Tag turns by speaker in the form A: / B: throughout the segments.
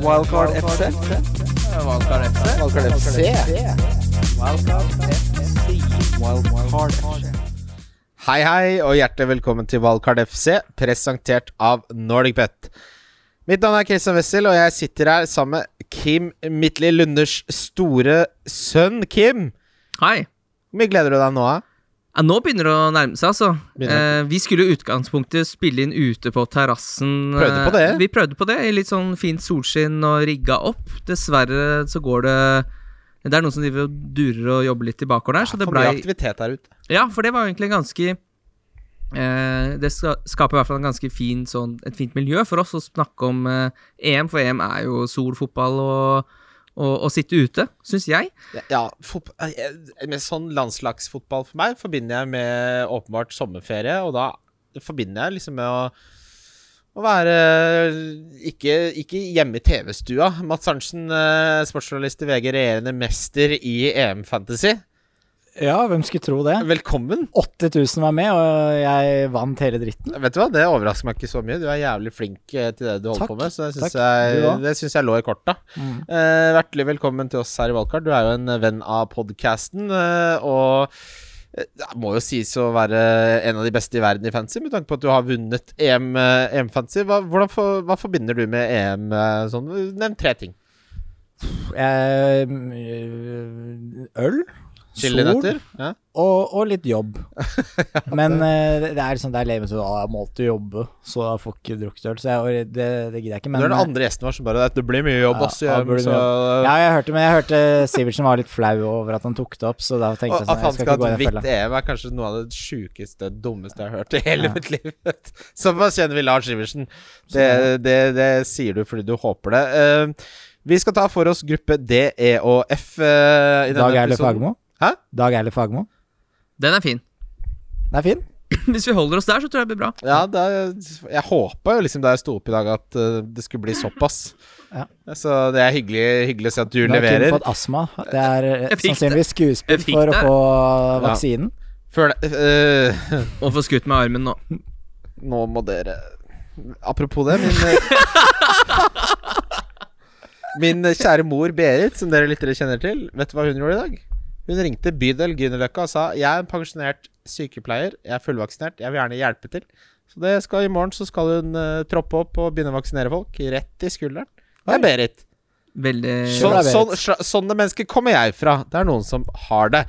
A: Wildcard FC.
B: Valgkar FC.
A: Wildcard FC. Wildcard FC.
C: Hei, hei, og hjertelig velkommen til Valkard FC, presentert av NordicBet. Mitt navn er Christian Wessel, og jeg sitter her sammen med Kim Midtli Lunders store sønn. Kim,
B: Hei.
C: hvor mye gleder du deg nå? da?
B: Ja, nå begynner det å nærme seg, altså.
C: Begynner.
B: Eh, vi skulle i utgangspunktet spille inn ute på terrassen.
C: Prøvde på
B: Eh,
C: det.
B: Vi prøvde på det i litt sånn fint solskinn og rigga opp. Dessverre så går det Det er noen som driver og durer og jobber litt i bakgården her, så det
C: For mye
B: blei
C: aktivitet her ute.
B: Ja, for det var egentlig en ganske eh, Det ska- skaper i hvert fall en ganske fin, sånn, et fint miljø for oss å snakke om eh, EM, for EM er jo sol, fotball og, og, og sitte ute, syns jeg.
C: Ja, fotball, med sånn landslagsfotball for meg forbinder jeg med åpenbart sommerferie, og da forbinder jeg liksom med å å være ikke, ikke hjemme i TV-stua. Mats Arntzen, eh, sportsjournalist i VG, regjerende mester i E EM-fantasy.
D: Ja, hvem skulle tro det?
C: Velkommen.
D: 80 000 var med, og jeg vant hele dritten.
C: Vet du hva, Det overrasker meg ikke så mye. Du er jævlig flink eh, til det du holder
D: Takk,
C: på med. Så det
D: takk.
C: syns
D: Du
C: jeg,
D: også. Mm.
C: det syns jeg lå i korta. Eh, hjertelig velkommen til oss her i Valgkart. Du er jo en venn av podkasten. eh, og eh, det må jo sies å være en av de beste i verden i fantasy, med tanke på at du har vunnet EM, eh, EM fantasy. Hva, hvordan for, hva forbinder du med EM? eh, Sånn? Nevn tre ting.
D: Jeg, mm, øl, sol
C: Chilinøtter. Ja.
D: og, og litt jobb. Men eh, det er liksom, det er levende så da må du jobbe, så jeg får ikke drukket øl. Så jeg, det, det gidder jeg ikke.
C: Du
D: Men
C: er den andre gjesten vår som bare Det blir mye jobb,
D: Ja,
C: ass. eh,
D: ja,
C: Ja,
D: det blir mye ja, jeg hørte, men jeg hørte Sivertsen var litt flau over at han tok det opp, så da tenkte jeg
C: Og at
D: sånn
C: han
D: Jeg skal
C: skal
D: ikke gå
C: ha
D: i
C: et
D: den
C: hvitt
D: fella.
C: EM, er kanskje noe av det sjukeste, dummeste jeg har hørt i hele mitt liv. Såpass kjenner vi Lars Iversen.
D: Sånn
C: Det, det, det sier du fordi du håper det. Eh, vi skal ta for oss gruppe D, E og F eh, i denne
D: Dag Eilif
C: episoden.
D: Fagermo.
C: Hæ?
D: Dag Eilif Fagermo.
B: Den er fin.
D: Det er fin.
B: Hvis vi holder oss der, så tror jeg det blir bra.
C: Ja, da, jeg håpa jo liksom da jeg sto opp i dag at eh, det skulle bli såpass.
D: Ja.
C: Så det er hyggelig, hyggelig å se at
D: Nå
C: du
D: har Kim
C: leverer.
D: fått astma. Det er eh,
B: Jeg fikk det.
D: sannsynligvis
B: Jeg
D: skuespill
B: fikk
D: for å
B: det.
D: få
C: Ja.
D: vaksinen.
C: Før det eh,
B: Og få skutt med armen nå.
C: Nå må dere Apropos det, min eh, Min kjære mor Berit, som dere lyttere kjenner til, vet du hva hun gjorde i dag? Hun ringte bydel Grünerløkka og sa Jeg er en pensjonert sykepleier, jeg er fullvaksinert, jeg vil gjerne hjelpe til. Så det skal i morgen så skal hun eh, troppe opp og begynne å vaksinere folk. Rett i skulderen. Det
D: Oi.
C: er Berit.
B: Veldig
D: Sure.
C: Sånn,
D: Kjør deg,
C: sånn, sla- sånne mennesker kommer jeg fra. Det er noen som har det.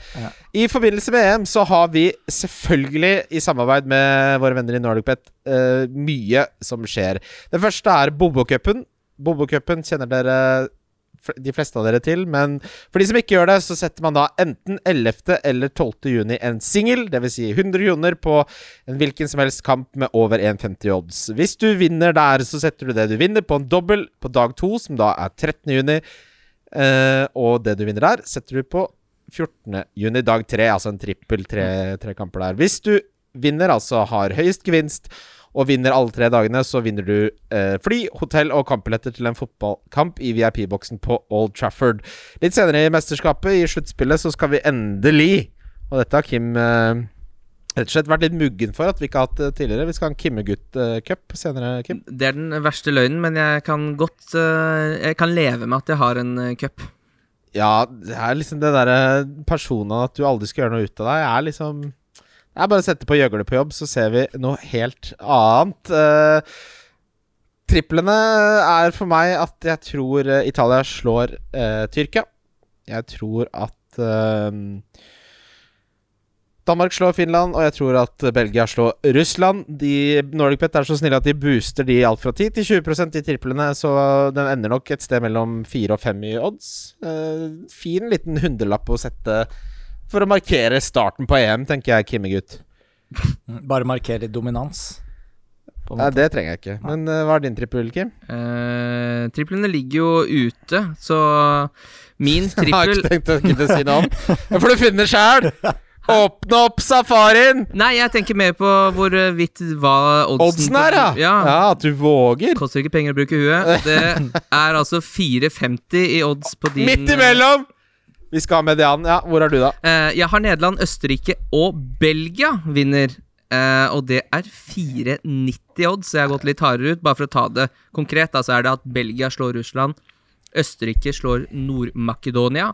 C: I forbindelse med EM så har vi selvfølgelig, i samarbeid med våre venner i NordicBet, eh, mye som skjer. Det første er Bobokupen. Bobokupen kjenner dere fl- de fleste av dere til, men for de som ikke gjør det, så setter man da enten 11. eller 12. juni en singel, dvs. Si 100 kroner på en hvilken som helst kamp med over 1,50 odds. Hvis du vinner der, så setter du det du vinner på en dobbel på dag to, som da er 13. juni. Eh, og det du vinner der, setter du på 14. juni, dag tre, altså en trippel, tre, tre kamper der. Hvis du vinner, altså har høyest gevinst, og vinner alle tre dagene, så vinner du eh, fly, hotell og kampbilletter til en fotballkamp i VIP-boksen på Old Trafford. Litt senere i mesterskapet, i sluttspillet, så skal vi endelig Og dette har Kim eh, rett og slett vært litt muggen for at vi ikke har hatt det tidligere. Vi skal ha en Kimmegutt-cup senere, Kim.
B: Det er den verste løgnen, men jeg kan godt eh, Jeg kan leve med at jeg har en eh, cup.
C: Ja, det er liksom det derre personen at du aldri skal gjøre noe ut av deg, er liksom Det er bare å sette på gjøgle på jobb, så ser vi noe helt annet. Eh, triplene er for meg at jeg tror eh, Italia slår eh, Tyrkia. Jeg tror at eh, Danmark slår Finland, og jeg tror at Belgia slår Russland. De Nordic Pet er så snille at de booster de alt fra 10 til 20 i triplene, så den ender nok et sted mellom 4 og 5 i odds. Eh, fin liten hundrelapp å sette for å markere starten på EM, tenker jeg, Kimmegutt.
D: Bare markere litt dominans. På en
C: Nei,
D: måte.
C: det trenger jeg ikke. Men eh, hva er din trippel, Kim?
B: Eh, triplene ligger jo ute, så min
C: Jeg har
B: trippel
C: ikke tenkt å kunne si noe om. Det får du finne sjæl! Åpne opp safarien!
B: Nei, jeg tenker mer på hvorvidt hva oddsen
C: Oddsen her, ja.
B: ja.
C: ja! At du våger.
B: Koster ikke penger å bruke huet. Det er altså 4,50 i odds på din
C: Midt imellom! Vi skal ha medianen. Ja, hvor er du, da?
B: Eh, jeg har Nederland, Østerrike og Belgia vinner. eh, og det er 4,90 odds, så jeg har gått litt hardere ut. Bare for å ta det konkret, da, så er det at Belgia slår Russland, Østerrike slår Nord-Makedonia,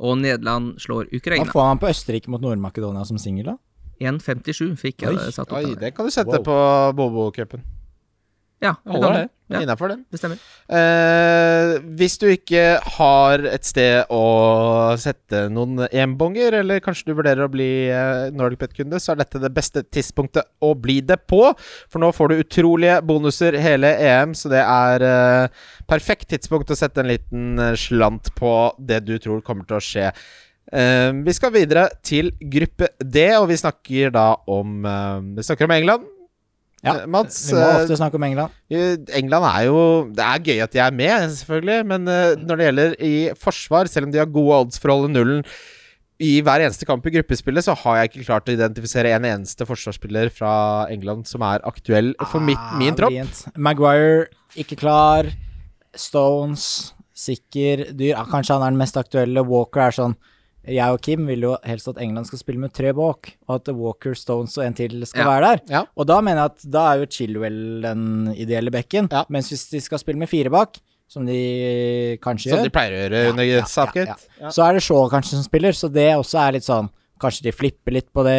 B: og Nederland slår
D: Hva
B: Ukraina.
D: får man på Østerrike mot Nord-Makedonia som singel, da?
B: 1,57 fikk jeg
D: Oi,
B: satt opp.
C: Oi,
B: der.
C: det kan du sette
D: Wow.
C: på Bobo-cupen.
B: Ja, det
C: Holder
B: kan
C: det.
B: du. Ja,
C: Innafor den.
B: det stemmer.
C: Eh, hvis du ikke har et sted å sette noen EM-bonger, eller kanskje du vurderer å bli eh, NordicBet-kunde, så er dette det beste tidspunktet å bli det på. For nå får du utrolige bonuser hele EM, så det er eh, perfekt tidspunkt å sette en liten eh, slant på det du tror kommer til å skje. Eh, vi skal videre til gruppe D, og vi snakker da om eh, Vi snakker om England.
D: Ja,
C: Eh, Mats,
D: Vi må
C: eh,
D: ofte snakke om England.
C: Eh, England er jo Det er gøy at de er med, selvfølgelig, men
D: Mm.
C: eh, når det gjelder i forsvar, selv om de har gode odds for å holde nullen i hver eneste kamp i gruppespillet, så har jeg ikke klart å identifisere en eneste forsvarsspiller fra England som er aktuell for mitt, min
D: Ah,
C: tropp.
D: vrient. Maguire, ikke klar. Stones, sikker. Dyr. Ah, kanskje han er den mest aktuelle. Walker er sånn Jeg og Kim vil jo helst at England skal spille med tre bak, og at Walker, Stones og en til skal
B: Ja.
D: være der.
C: Ja.
D: Og da mener jeg at da er jo Chilwell den ideelle bekken.
C: Ja.
D: Mens hvis de skal spille med fire bak, som de kanskje
C: Som
D: gjør
C: de pleier å gjøre
D: Ja,
C: under
D: ja, ja,
C: Southgate.
D: ja. Så er det Shaw kanskje som spiller, så det også er litt sånn Kanskje de flipper litt på det,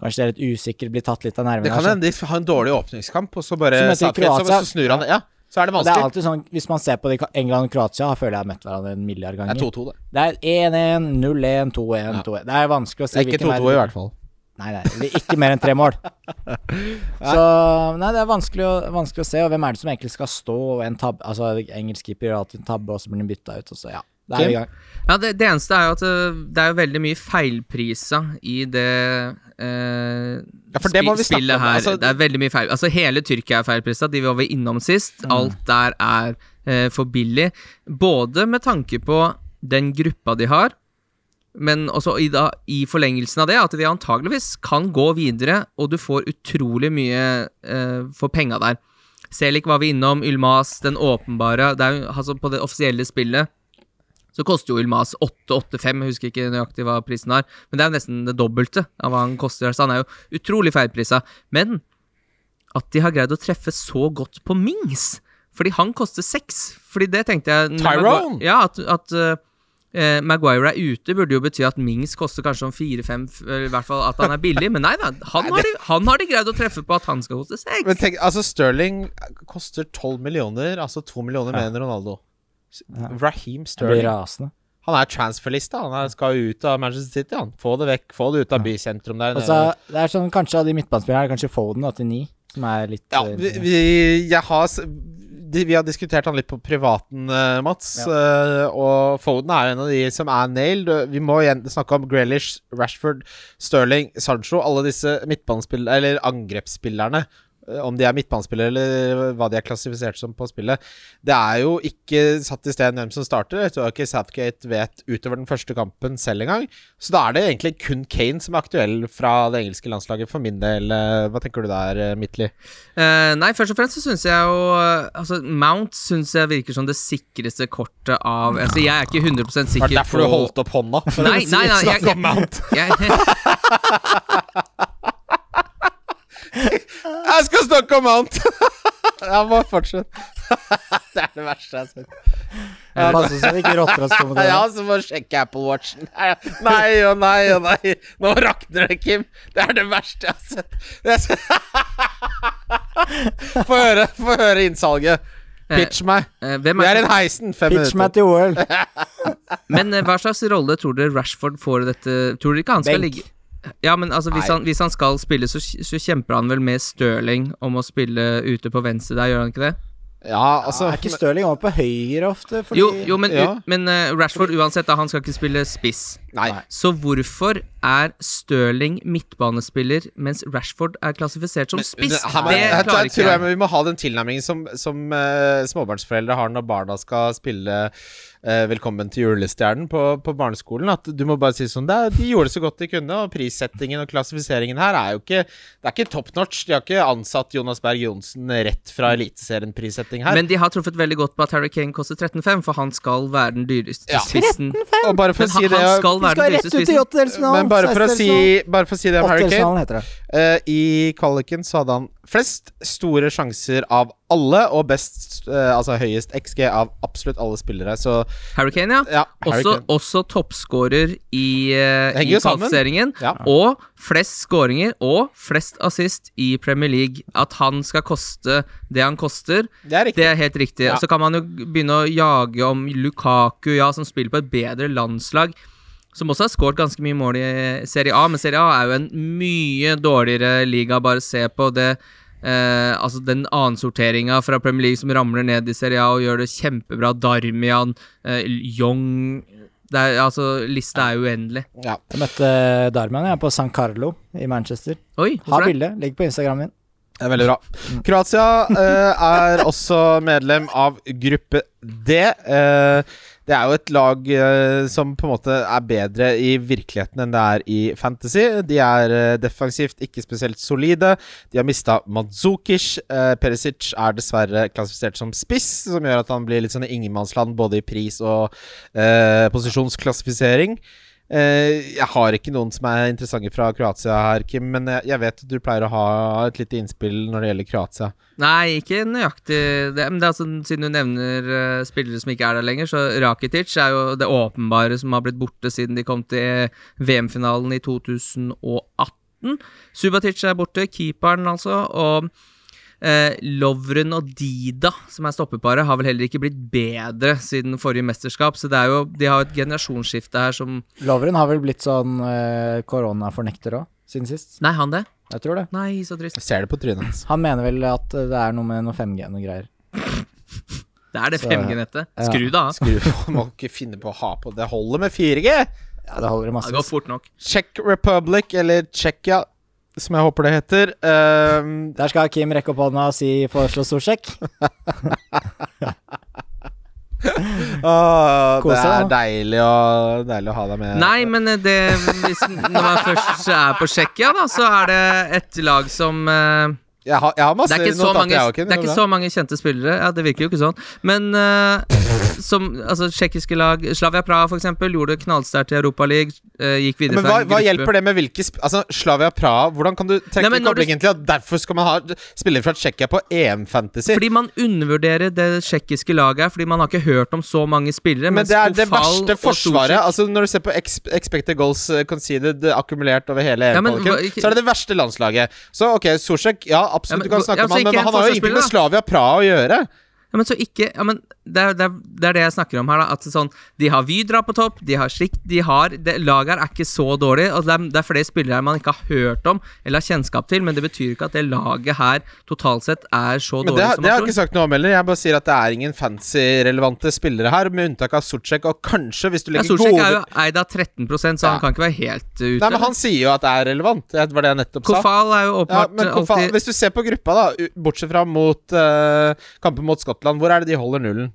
D: kanskje de er litt usikre, blir tatt litt av nervene.
C: Det
D: her,
C: kan
D: sånn.
C: hende de f- har en dårlig åpningskamp, og så bare
D: Som heter
C: Southgate, så,
D: Kroatia.
C: så snur han Ja, så er det
D: Og Det er
C: vanskelig.
D: alltid sånn, Hvis man ser på de, England og Kroatia, jeg føler jeg har møtt hverandre en milliard
C: Det er
D: ganger.
C: 2-2, det.
D: Det er 1-1, 0-1, 2-1,
C: Ja.
D: 2-1. Det er vanskelig å si
C: Det er ikke 2-2 i hvert fall.
D: Nei, nei, det er ikke mer enn tre mål. Så Nei, det er vanskelig å, vanskelig å se. Og hvem er det som egentlig skal stå og en tabbe? Altså, engelsk keeper gjør alltid en tabbe, og så blir den bytta ut, og så ja. Da er vi i gang.
B: Ja, det, det eneste er jo at øh, det er jo veldig mye feilprisa i det eh,
C: Ja, for det må
B: spi-
C: vi snakke
B: spillet
C: om,
B: her.
C: altså-
B: det er veldig mye feil. Altså, hele Tyrkia er feilprisa, de var vi innom sist.
C: Mm.
B: Alt der er eh, for billig. Både med tanke på den gruppa de har, men også i, da, i forlengelsen av det, at de antageligvis kan gå videre, og du får utrolig mye eh, for penga der. Selik var vi innom, Ylmas den åpenbare. Det er jo, altså, på det offisielle spillet så koster jo Ylmas 885, jeg husker ikke nøyaktig hva prisen er, men det er jo nesten det dobbelte av hva han koster. Så han er jo utrolig feilprisa. Men at de har greid å treffe så godt på Mings, fordi han koster seks. Fordi det tenkte jeg når
C: Tyrone?
B: Magui- Ja, at, at eh, Maguire er ute, burde jo bety at Mings koster kanskje om fire-fem, eller i hvert fall at han er billig, men nei da. Han har, de, han har de greid å treffe på at han skal koste seks.
C: Men tenk, altså Sterling koster 12 millioner, altså 2 millioner mer enn Ronaldo. S-
D: Jeg
C: Raheem
D: blir
C: Sterling.
D: rasende.
C: Han er transferlista. Han er, skal jo ut av Manchester City. Han. Få det vekk. Få det ut av bysentrum der.
D: Og
C: nede.
D: så- det er sånn, kanskje av de midtbanespillerne er det kanskje Foden, 89, som er litt
C: ja,
D: eh,
C: vi, vi, jeg har, s- de, vi har diskutert han litt på privaten, eh, Mats. eh, og Foden er jo en av de som er nailed. Vi må igjen snakke om Grealish, Rashford, Sterling, Sancho. Alle disse midtbanespill- eller angrepsspillerne. eh, Om de er midtbanespillere eller hva de er klassifisert som på spillet. Det er jo ikke satt i sted hvem som starter. Jeg tror ikke Southgate vet utover den første kampen selv engang. Så da er det egentlig kun Kane som er aktuell fra det engelske landslaget, for min del. eh, Hva tenker du der, eh, Midtly?
B: Eh, nei, først og fremst så syns jeg jo eh, Altså, Mount syns jeg virker som det sikreste kortet av Altså, jeg er ikke 100
C: Det
B: sikker
C: var derfor du holdt opp hånda. for å
B: Nei,
C: si-
B: nei, nei, jeg-
C: snakke om Mount.
B: jeg,
C: Jeg skal snakke om Mount! ja, bare fortsett. det er det verste jeg har sett.
D: Passe så vi ikke rotter oss på
C: Ja,
D: det.
C: så må jeg sjekke Apple Watchen. Nei, Nei og nei og nei. Nå rakner det, Kim. Det er det verste jeg har sett. Jeg ser- Få høre, få høre innsalget. Pitch meg.
B: eh, hvem
C: Vi er
B: er det?
C: i heisen fem
D: Pitch meg til
C: minutter.
D: OL.
B: Men eh, hva slags rolle tror dere Rashford får i dette Tror dere ikke han skal
D: Benk.
B: ligge Ja, men altså, hvis
C: Nei.
B: han, hvis han skal spille, så, så kjemper han vel med Stirling om å spille ute på venstre der, gjør han ikke det?
C: Ja, altså
D: er ikke Stirling over på høyre ofte? Fordi
B: Jo, jo men,
C: ja.
B: ut- men eh, Rashford uansett, da, han skal ikke spille spiss.
C: Nei.
B: Så hvorfor er Stirling midtbanespiller, mens Rashford er klassifisert som spiss?
C: Men her må- her
B: det
C: tror
B: klarer
C: jeg- tror
B: ikke
C: jeg
B: jeg.
C: vi må ha den tilnærmingen som, som eh, småbarnsforeldre har når barna skal spille eh, 'Velkommen til julestjernen' på, på barneskolen. At du må bare si sånn det, er- De gjorde så godt de kunne, og prissettingen og klassifiseringen her er jo ikke Det er ikke top notch. De har ikke ansatt Jonas Berg Johnsen rett fra Eliteserien-prissetting setting her.
B: Men de har truffet veldig godt på at Harry Kane koster 13,5, for han skal være den dyreste
C: Ja.
B: spissen.
C: og bare for
B: Men
C: å si
B: han,
C: det
B: han skal liksom.
D: Vi skal
B: være den
D: rett
B: dyreste
D: ut i
B: spissen.
D: åttedelsfinalen.
C: Men bare for, å si,
D: sekstedelsfinalen.
C: bare for å si det om Harry Kane
D: Åttedelsfinalen heter det.
C: Eh, I kvaliken så hadde han flest store sjanser av alle, og best, eh, altså høyest XG av absolutt alle spillere. Så
B: Harry Kane, ja.
C: ja, Harry
B: Også,
C: Kane.
B: også toppskårer i, eh,
C: Det henger
B: i
C: jo sammen.
B: kvalifiseringen.
C: Ja.
B: Og flest skåringer og flest assist i Premier League. At han skal koste det han koster,
C: Det er riktig.
B: det er helt riktig.
C: Ja.
B: Og så kan man jo begynne å jage om Lukaku, ja, som spiller på et bedre landslag. Som også har skåret ganske mye mål i Serie A, men Serie A er jo en mye dårligere liga. Bare se på det eh, Altså den annensorteringa fra Premier League som ramler ned i Serie A og gjør det kjempebra. Darmian, eh, Young det er, Altså, lista er uendelig.
C: Ja.
D: Jeg møtte eh, Darman jeg, på San Carlo i Manchester.
B: Oi,
D: Ha
B: hvorfor det?
D: bildet. Ligger på Instagramen min.
C: Det er veldig bra. Kroatia eh, er også medlem av gruppe D. Eh, det er jo et lag eh, som på en måte er bedre i virkeligheten enn det er i fantasy. De er eh, defensivt ikke spesielt solide. De har mista Mandzukic. Eh, Perisic er dessverre klassifisert som spiss, som gjør at han blir litt sånn i ingenmannsland både i pris og eh, posisjonsklassifisering. Eh, jeg har ikke noen som er interessante fra Kroatia her, Kim, men jeg, jeg vet at du pleier å ha et lite innspill når det gjelder Kroatia.
B: Nei, ikke nøyaktig det. Men det er altså, siden du nevner eh, spillere som ikke er der lenger, så Rakitic er jo det åpenbare som har blitt borte siden de kom til VM-finalen i 2018. Subatic er borte, keeperen altså. Og eh, Lovren og Dida, som er stoppeparet, har vel heller ikke blitt bedre siden forrige mesterskap. Så det er jo, de har jo et generasjonsskifte her som
D: Lovren har vel blitt sånn eh, koronafornekter òg, siden sist.
B: Nei, han det?
D: Jeg tror det.
B: Nei, så trist.
C: Jeg ser det på trynet hans.
D: Han mener vel at det er noe med noe 5G og noe greier.
B: Det er det
D: Så-
B: 5G-nettet.
D: ja.
B: Skru det av.
C: Skru på, må ikke finne på å ha på. Det holder med 4G!
D: Ja, det holder i
B: Det går
D: massevis.
B: fort nok.
C: Czech Republic, eller Tsjekkia, som jeg håper det heter. Ehm,
D: Der skal Kim rekke opp hånda og si 'foreslå stor sjekk'.
C: åh, det
D: Kose
C: er
D: deg,
C: deilig å, deilig å ha deg med.
B: Nei, men eh, det, hvis, når man først er på Tsjekkia, da, så er det et lag som eh,
C: Jeg har, jeg har masse
B: det er, ikke så
C: notater,
B: mange,
C: jeg, Kim.
B: det er ikke
C: går bra.
B: så mange kjente spillere. Ja, Det virker jo ikke sånn. Men eh, som altså, tsjekkiske lag Slavia Praha, for eksempel, gjorde det knallsterkt i Europaligaen. Uh, gikk videre
C: men hva, hva hjelper det med hvilke sp Altså, Slavia Praha Hvordan kan du trekke
B: Nei, men når
C: kobling
B: du-
C: egentlig at derfor skal man ha spillere fra Tsjekkia på EM-fantasy?
B: Fordi man undervurderer det tsjekkiske laget her, fordi man har ikke hørt om så mange spillere.
C: Men
B: mens
C: det er det
B: Kofal
C: verste
B: og
C: forsvaret.
B: Solskjær-
C: Altså Når du ser på ex expected goals eh, conceded eh, akkumulert over hele
B: Ja, men
C: EM-kvaliken,
B: hva- ikke-
C: så er det det verste landslaget. Så ok, Sorsak Ja,
B: Ja,
C: absolutt,
B: men
C: du kan
B: hva-
C: snakke
B: ja,
C: om
B: så
C: han,
B: ikke
C: men
B: en
C: han har jo
B: forsvarsspiller,
C: ingenting med Slavia Praha å gjøre.
B: Ja, men så ikke ja, men det, er, det, er, det er det jeg snakker om her. da At det er sånn, De har Vydra på topp, de har slikt de har, det, Laget her er ikke så dårlig. Og det, er, det er flere spillere her man ikke har hørt om eller har kjennskap til, men det betyr ikke at det laget her totalt sett er så
C: Men
B: dårlig
C: det, har-
B: som
C: det har
B: man
C: jeg
B: tror.
C: ikke sagt noe om heller. Jeg bare sier at det er ingen fancy-relevante spillere her, med unntak av Sorsak, og kanskje, hvis du
B: Ja,
C: legger
B: Solskjær
C: gode
B: er jo eid av 13 så
C: Ja.
B: han kan ikke være helt uh, ute.
C: Nei, men han sier jo at det er relevant. Det var det jeg nettopp sa.
B: Kofal er jo
C: Ja,
B: åpenbart
C: men Kofa,
B: alltid
C: Hvis du ser på gruppa, da, u- bortsett fra mot eh, kampen mot Skottland, hvor er det de holder nullen?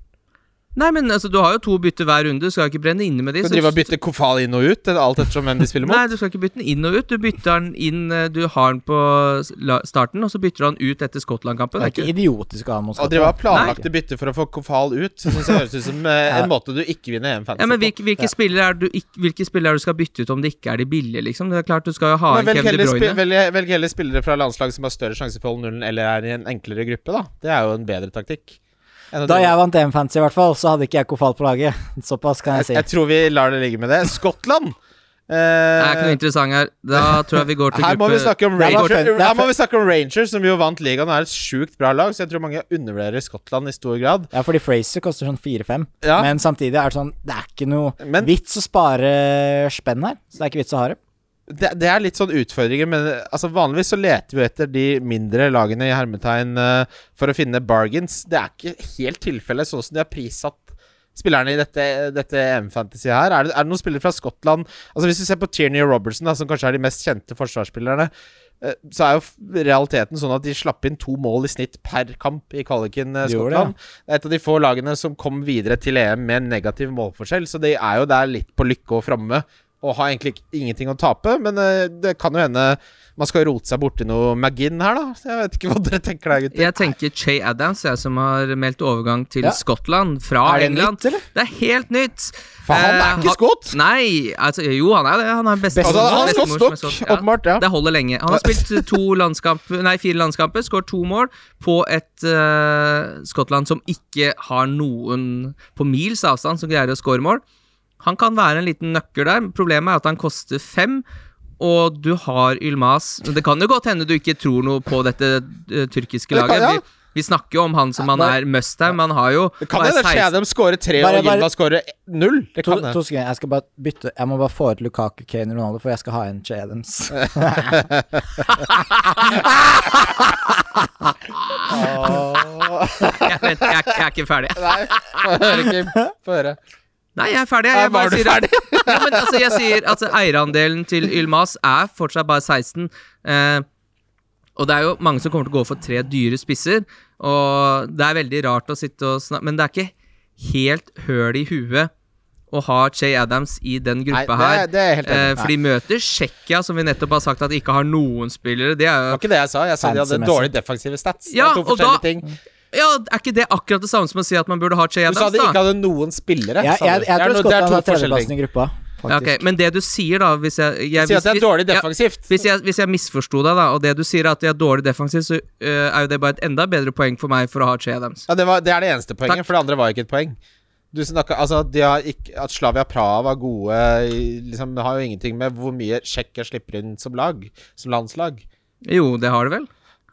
B: Nei, men altså, du har jo to bytter hver runde, du skal jo ikke brenne inne med de.
C: Skal
B: så-
C: drive og bytte Kofal inn og ut, alt ettersom hvem de spiller mot?
B: Nei, du skal ikke bytte den inn og ut. Du bytter den inn eh, Du har den på s- la- starten, og så bytter du den ut etter Skottland-kampen.
D: Det er
B: er
D: ikke idiotisk å ha mot
C: Å drive av
D: Skottland.
C: planlagte bytter for å få Kofal ut, synes jeg høres ut som eh, en måte du ikke vinner EM Fantasy
B: Ja, men
C: på.
B: hvilke, hvilke, spillere er du, ikk- hvilke spillere er du skal bytte ut om det ikke er de billige, liksom? Det er klart du skal jo ha
C: Men
B: en
C: velg,
B: Kevin De
C: heller spi
B: Bruyne.
C: velg, velg heller spillere fra landslag som har større sjanse for å holde nullen, eller er i en enklere gruppe, da. Det er jo en bedre taktikk. enn å
D: Da
C: drive-
D: jeg vant EM-fancy, i hvert fall, så hadde ikke jeg Kofal på laget. Såpass kan jeg si.
C: jeg tror vi lar det ligge med det. Skottland! Eh,
B: Det er ikke noe interessant her. Da tror jeg vi går til
C: her må, vi
B: gruppe
C: snakke om
D: Det er bare
C: Rangers,
D: fem- det er
C: her må
D: fem-
C: vi snakke om Rangers, som jo vant ligaen og er et sjukt bra lag, så jeg tror mange undervurderer Skottland i stor grad.
D: Ja, fordi Fraser koster sånn 4-5,
C: Ja.
D: men samtidig er det sånn Det er ikke noe
C: Men-
D: vits å spare spenn her, så det er ikke vits å ha det.
C: det, det er litt sånn utfordringer, men eh, altså, vanligvis så leter vi etter de mindre lagene i hermetegn eh, for å finne bargains. Det er ikke helt tilfellet sånn som de har prissatt spillerne i dette, dette EM-fantasy her. Er det, er det noen spillere fra Skottland Altså Hvis du ser på Tierney og Robertson, da, som kanskje er de mest kjente forsvarsspillerne, eh, så er jo f- realiteten sånn at de slapp inn to mål i snitt per kamp i kvaliken eh,
D: De gjorde det,
C: Skottland. Det er et av de få lagene som kom videre til EM med negativ målforskjell, så de er jo der litt på lykke og framme og har egentlig ikke- ingenting å tape. Men eh, det kan jo hende man skal rote seg borti noe McGinn her, da. Så Jeg vet ikke hva dere tenker der, gutter.
B: Jeg tenker Che Adams, jeg som har meldt overgang til
D: Ja.
B: Skottland fra
D: Er det
B: England.
D: nytt, eller?
B: Det er helt nytt!
C: For han
B: Eh,
C: er ikke skott!
B: Nei, altså, jo, han er det. Han er best
D: Best-
C: Altså, han har
B: best-
C: skott
B: best-
C: stokk,
B: best- ja.
C: åpenbart. Ja.
B: Det holder lenge. Han har spilt eh, to landskamp, nei, fire landskamper, skåret to mål på et eh, Skottland som ikke har noen på mils avstand som greier å skåre mål. Han kan være en liten nøkkel der. Problemet er at han koster fem, og du har Ylmas Det kan jo godt hende du ikke tror noe på dette eh, tyrkiske
C: Det kan-
B: laget.
C: ja.
B: Vi, vi snakker jo om han som han
D: Ja,
B: er Mustang, men han har jo
C: Det kan
B: bare
C: hende
B: 16
C: Shadham skårer tre
D: Bare-
C: og Gilda
D: bare-
C: skårer null. Det
D: To,
C: kan det.
D: to sekunder, jeg skal bare bytte Jeg må bare få ut Lukaku, Kane, Ronaldo, for jeg skal ha en Che Adams.
B: Jeg, vent, jeg, er- jeg er ikke ferdig.
C: Nei, få høre, Kim. Få høre.
B: Nei, jeg er ferdig. jeg.
C: Ja,
B: Jeg bare
C: var du
B: sier at- ja, men altså, jeg sier at eierandelen til Ylmas er fortsatt bare 16. Eh, og det er jo mange som kommer til å gå for tre dyre spisser. Og det er veldig rart å sitte og snakke Men det er ikke helt høl i huet å ha Che Adams i den
C: Nei,
B: gruppa
C: det,
B: her.
C: er- det er jeg helt
B: Eh,
C: enig.
B: for de møter Tsjekkia, som vi nettopp har sagt at ikke har noen spillere. Det
C: Det
B: er jo
C: var ikke det jeg sa. Jeg sa de hadde
D: Fancy-messig.
C: dårlige defensive stats. Det er
B: Ja,
C: to
B: og
C: forskjellige
B: da-
C: ting.
B: Ja, er ikke det akkurat det samme som å si at man burde ha Che
C: Du
B: Adams,
C: sa de
B: da?
C: ikke hadde noen spillere.
D: Jeg,
C: sa
D: jeg, jeg
C: du. Det er
D: tror
C: no- det er
D: Skottland
C: to
D: har
C: forskjellig
D: tredjeplassen i gruppa,
B: Ja,
D: faktisk.
B: ok, men det du sier, da hvis jeg, jeg
C: Si at det er
B: hvis-
C: dårlig
B: ja,
C: defensivt.
B: Hvis jeg, hvis jeg misforsto deg, da, og det du sier er at de er dårlig defensivt, så øh, er jo det bare et enda bedre poeng for meg for å ha Che Adams.
C: Ja, det, var, det er det eneste poenget,
B: Takk.
C: for det andre var ikke et poeng. Du snakka altså, at de har ikke, At Slavia Praha var gode i- liksom, Det har jo ingenting med hvor mye Tsjekkia slipper inn som lag. Som landslag.
B: Jo, det har du vel?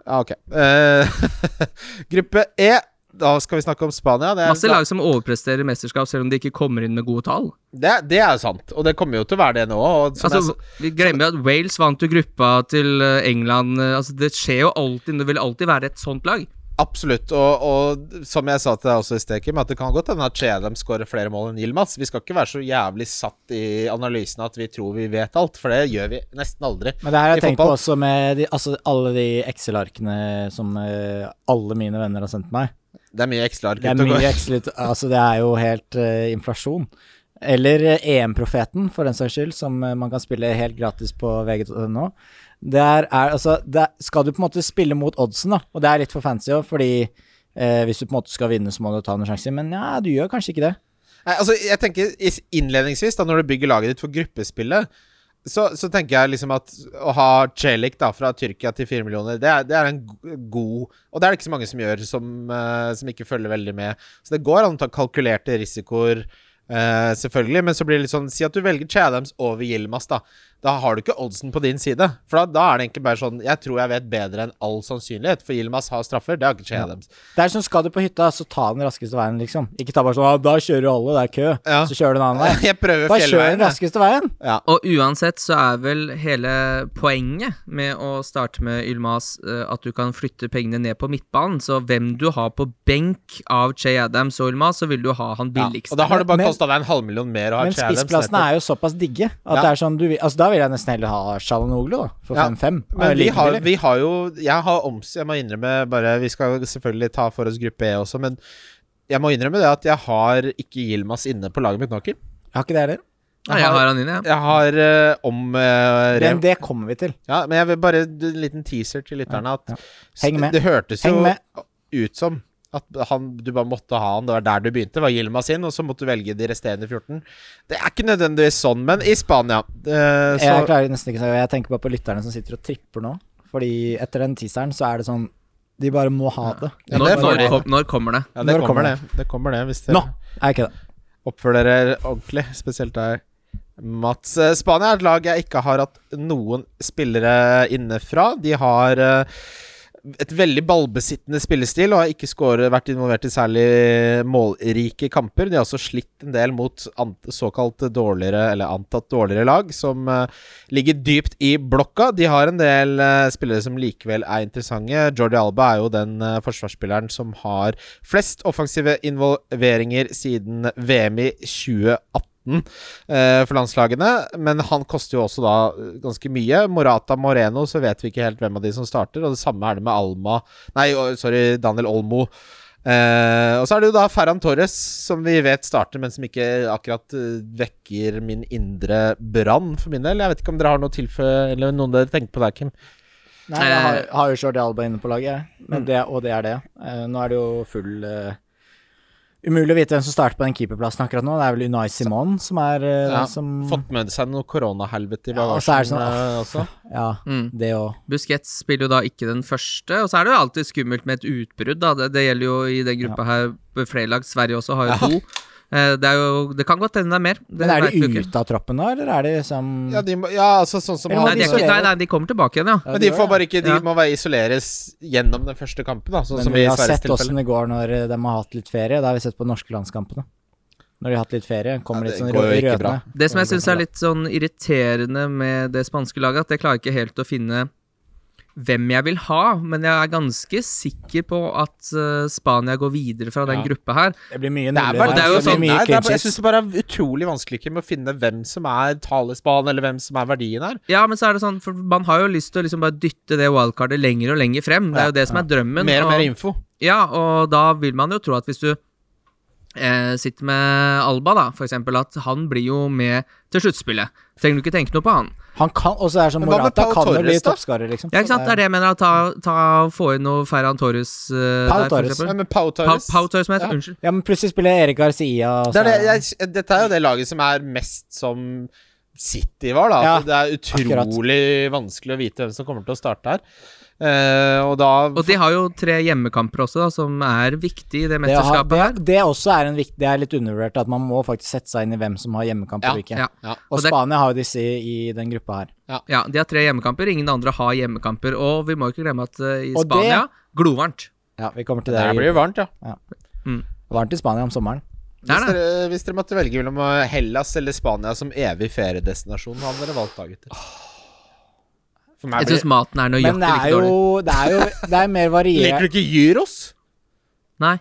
C: Ja, ok. Eh, gruppe E. Da skal vi snakke om Spania. Det er,
B: Masse lag som overpresterer i mesterskap selv om de ikke kommer inn med gode tall.
C: det, det er jo sant, og det kommer jo til å være det nå. Og som jeg
B: Altså, vi glemmer jo at Wales vant jo gruppa til øh, England. øh, Altså, det skjer jo alltid. Det vil alltid være et sånt lag.
C: Absolutt. Og, og som jeg sa til deg også i sted, Kim, at det kan godt hende at Chedem skårer flere mål enn Yilmaz. Vi skal ikke være så jævlig satt i analysen at vi tror vi vet alt, for det gjør vi nesten aldri.
D: Men det her har
C: i
D: jeg tenkt på
C: fotball.
D: også med de, altså, alle de Excel-arkene som eh, alle mine venner har sendt meg.
C: Det er mye X-lark
D: Det er
C: ute og
D: mye
C: går.
D: Excel ut- Altså, det er jo helt eh, inflasjon. Eller eh, EM-profeten, for den saks skyld, som eh, man kan spille helt gratis på VG.no. Der er altså der Skal du på en måte spille mot oddsen, da, og det er litt for fancy òg, fordi eh, hvis du på en måte skal vinne, så må du ta noen sjanser, men ja, du gjør kanskje ikke det.
C: Nei, altså, jeg tenker is- innledningsvis, da, når du bygger laget ditt for gruppespillet, så, så tenker jeg liksom at å ha Celik da, fra Tyrkia til fire millioner, det er, det er en go- god Og det er det ikke så mange som gjør, som, eh, som ikke følger veldig med. Så det går an å ta kalkulerte risikoer, eh, selvfølgelig, men så blir det litt sånn Si at du velger Chadams over Yilmaz, da. Da har du ikke oddsen på din side. For da, da er det egentlig bare sånn Jeg tror jeg vet bedre enn all sannsynlighet, for Yilmaz har straffer. Det har ikke Chadams.
D: Det er som skal du på hytta, så ta den raskeste veien, liksom. Ikke ta bare sånn «Ah, da kjører jo alle, det er kø,
C: Ja.
D: så kjører du en annen vei.
C: Jeg prøver
D: Da kjører
C: fjellveien.
D: den altså.
C: jeg.
D: raskeste veien.
C: Ja.
B: Og uansett så er vel hele poenget med å starte med Ylmas eh, at du kan flytte pengene ned på midtbanen. Så hvem du har på benk av Che Adams og Ylmas, så vil du ha
C: Ja,
B: han billigste.
C: og da har det bare
D: Men-
C: kosta deg en halvmillion mer å ha
D: Men spissplassene er jo såpass digge at
C: Ja.
D: det er sånn du vil Altså, da vil jeg nesten heller ha Shalanoglu, da, for
C: Ja,
D: 5-5.
C: Men
D: Er
C: vi
D: like
C: har,
D: billig.
C: vi har jo Jeg har oms... Jeg må innrømme bare Vi skal selvfølgelig ta for oss gruppe E også, men jeg må innrømme det at jeg har ikke Yilmaz inne på laget mitt nå, Kim.
D: Jeg har ikke det heller.
B: Nei, jeg har han inne, ja.
C: Jeg har eh, om eh,
D: Men
C: Rev.
D: det kommer vi til.
C: Ja, men jeg vil bare En liten teaser til lytterne at
D: Heng med.
C: det hørtes
D: Heng
C: jo
D: med.
C: ut som at han, du bare måtte ha han. Det var der du begynte, var Yilmaz inn, og så måtte du velge de resterende 14. Det er ikke nødvendigvis sånn, men i Spania eh, så,
D: Jeg klarer nesten ikke å si Jeg tenker bare på lytterne som sitter og tripper nå. Fordi etter den teaseren så er det sånn De bare må ha det.
C: Ja, det
B: Når,
C: er
B: når,
C: farlig.
B: kom, når kommer det?
C: Ja, det
D: Når
C: kommer
D: kommer
C: det. Det kommer det hvis
D: Nå!
C: dere
D: Er ikke det.
C: oppfører dere ordentlig. Spesielt deg, Mats. Eh, Spania er et lag jeg ikke har hatt noen spillere inne fra. De har eh, et veldig ballbesittende spillestil og har ikke scoret, vært involvert i særlig målrike kamper. De har også slitt en del mot ant såkalt dårligere, eller antatt dårligere lag, som eh, ligger dypt i blokka. De har en del eh, spillere som likevel er interessante. Jordi Alba er jo den eh, forsvarsspilleren som har flest offensive involveringer siden VM i 2018 eh, for landslagene, men han koster jo også da eh, ganske mye. Morata Moreno, så vet vi ikke helt hvem av de som starter, og det samme er det med Alma Nei, å, sorry, Daniel Olmo. Eh, og så er det jo da Ferran Torres, som vi vet starter, men som ikke akkurat eh, vekker min indre brann, for min del. Jeg vet ikke om dere har noe tilføye, eller noen dere tenker på der, Kim.
D: Nei, jeg har,
C: Eh.
D: har jo Jordi Alba inne på laget, jeg. men det, og det er det. Eh, nå er det jo full eh, Umulig å vite hvem som starter på den keeperplassen akkurat nå. Det er vel Unai Simon som er eh,
C: Ja,
D: den som
C: Fått med seg noe koronahelvete i
D: Ja, og så er det
C: bagasjen
D: sånn,
C: eh, også.
D: Ja,
B: Mm.
D: det òg.
B: Busquets spiller jo da ikke den første, og så er det jo alltid skummelt med et utbrudd, da. Det, det gjelder jo i den gruppa her på flere lag. Sverige også har jo to. Eh, Det, er jo, det kan godt hende det er mer. Det
D: Men er
B: vet vi
D: de
B: jo ikke.
D: ute av troppen nå, eller er de liksom
C: Ja, de, må- ja, altså sånn som
D: Eller
C: han-
B: Nei, de er
D: isolerer.
B: ikke, nei, nei, de kommer tilbake igjen, ja.
D: Ja,
C: Men de
D: gjør
C: får
D: det.
C: bare ikke De
B: Ja.
C: må være isoleres gjennom den første kampen, da, sånn
D: Men
C: som
D: vi
C: i
D: har
C: Sveriges
D: sett
C: tilfelle.
D: åssen det går når eh, de har hatt litt ferie. Det har vi sett på de norske landskampene. Når de har hatt litt ferie, kommer
C: Ja,
D: litt
C: det
D: sånn
C: går jo ikke
D: rødende.
C: bra.
B: Det som jeg syns er litt sånn irriterende med det spanske laget, at jeg klarer ikke helt å finne hvem jeg vil ha, men jeg er ganske sikker på at eh, Spania går videre fra den
C: Ja.
B: gruppa her.
D: Det blir mye
C: Det er
D: nuller
C: bare,
B: det er
D: der.
B: jo
D: Det blir
B: sånn-
C: Nei,
D: mye
C: det er,
D: clean
C: bare- jeg
D: sheets.
C: syns det bare er utrolig vanskelig Kim, å finne hvem som er talesbanen, eller hvem som er verdien her.
B: Ja, men så er det sånn, for man har jo lyst til å liksom bare dytte det wildcardet lenger og lenger frem. Det er jo det som er drømmen.
C: mer og
B: og-
C: mer info.
B: Ja, og da vil man jo tro at hvis du eh, sitter med Alba, da, for eksempel, at han blir jo med til sluttspillet. Trenger du ikke tenke noe på han.
D: Han kan, og så er det sånn
C: Men hva med
D: Morata
C: Pau
D: kan jo
C: Torres,
D: bli
C: da?
D: toppskårer, liksom.
B: Ja, ikke sant? Det er det jeg mener. at Ta, ta, få inn noe Ferran Torres eh,
D: Pau
B: der, for
D: Torres.
C: Nei,
B: eksempel.
C: men Pau
B: Pau,
C: Torres
B: Pau Torres, som heter
C: Ja.
B: Unnskyld.
D: Ja, men plutselig spiller Erik Garcia og
C: det
D: så
C: er det, jeg, Dette er jo det laget som er mest som City var, da. At det er
D: akkurat.
C: utrolig vanskelig å vite hvem som kommer til å starte her. Eh, og da
B: Og de har jo tre hjemmekamper også, da, som er viktig i det
D: Det, har,
B: mesterskapet
D: det,
B: her.
D: det også er en viktig, det er litt undervurdert at man må faktisk sette seg inn i hvem som har hjemmekamp
C: Ja,
D: og ikke.
B: Ja.
C: ja.
D: Og
B: Og det-
D: Spania har jo disse i, i den gruppa her.
B: ja, de har tre hjemmekamper. Ingen andre har hjemmekamper. Og vi må jo ikke glemme at eh, i
D: Og det-
B: Spania glovarmt.
D: Ja, vi kommer til
C: Det
D: det.
C: her blir jo varmt, ja.
D: Varmt i Spania om sommeren.
B: Det
C: Hvis
B: er det.
C: dere, hvis dere måtte velge mellom eh, Hellas eller Spania som evig feriedestinasjon, hva hadde dere valgt da, gutter? For meg
B: Jeg syns
C: blir
B: maten er
D: Men det
B: nøyaktig
D: er
B: like
D: jo
B: dårlig.
D: Det er jo det er mer
C: Liker
D: variert.
C: du ikke gyros?
B: Nei.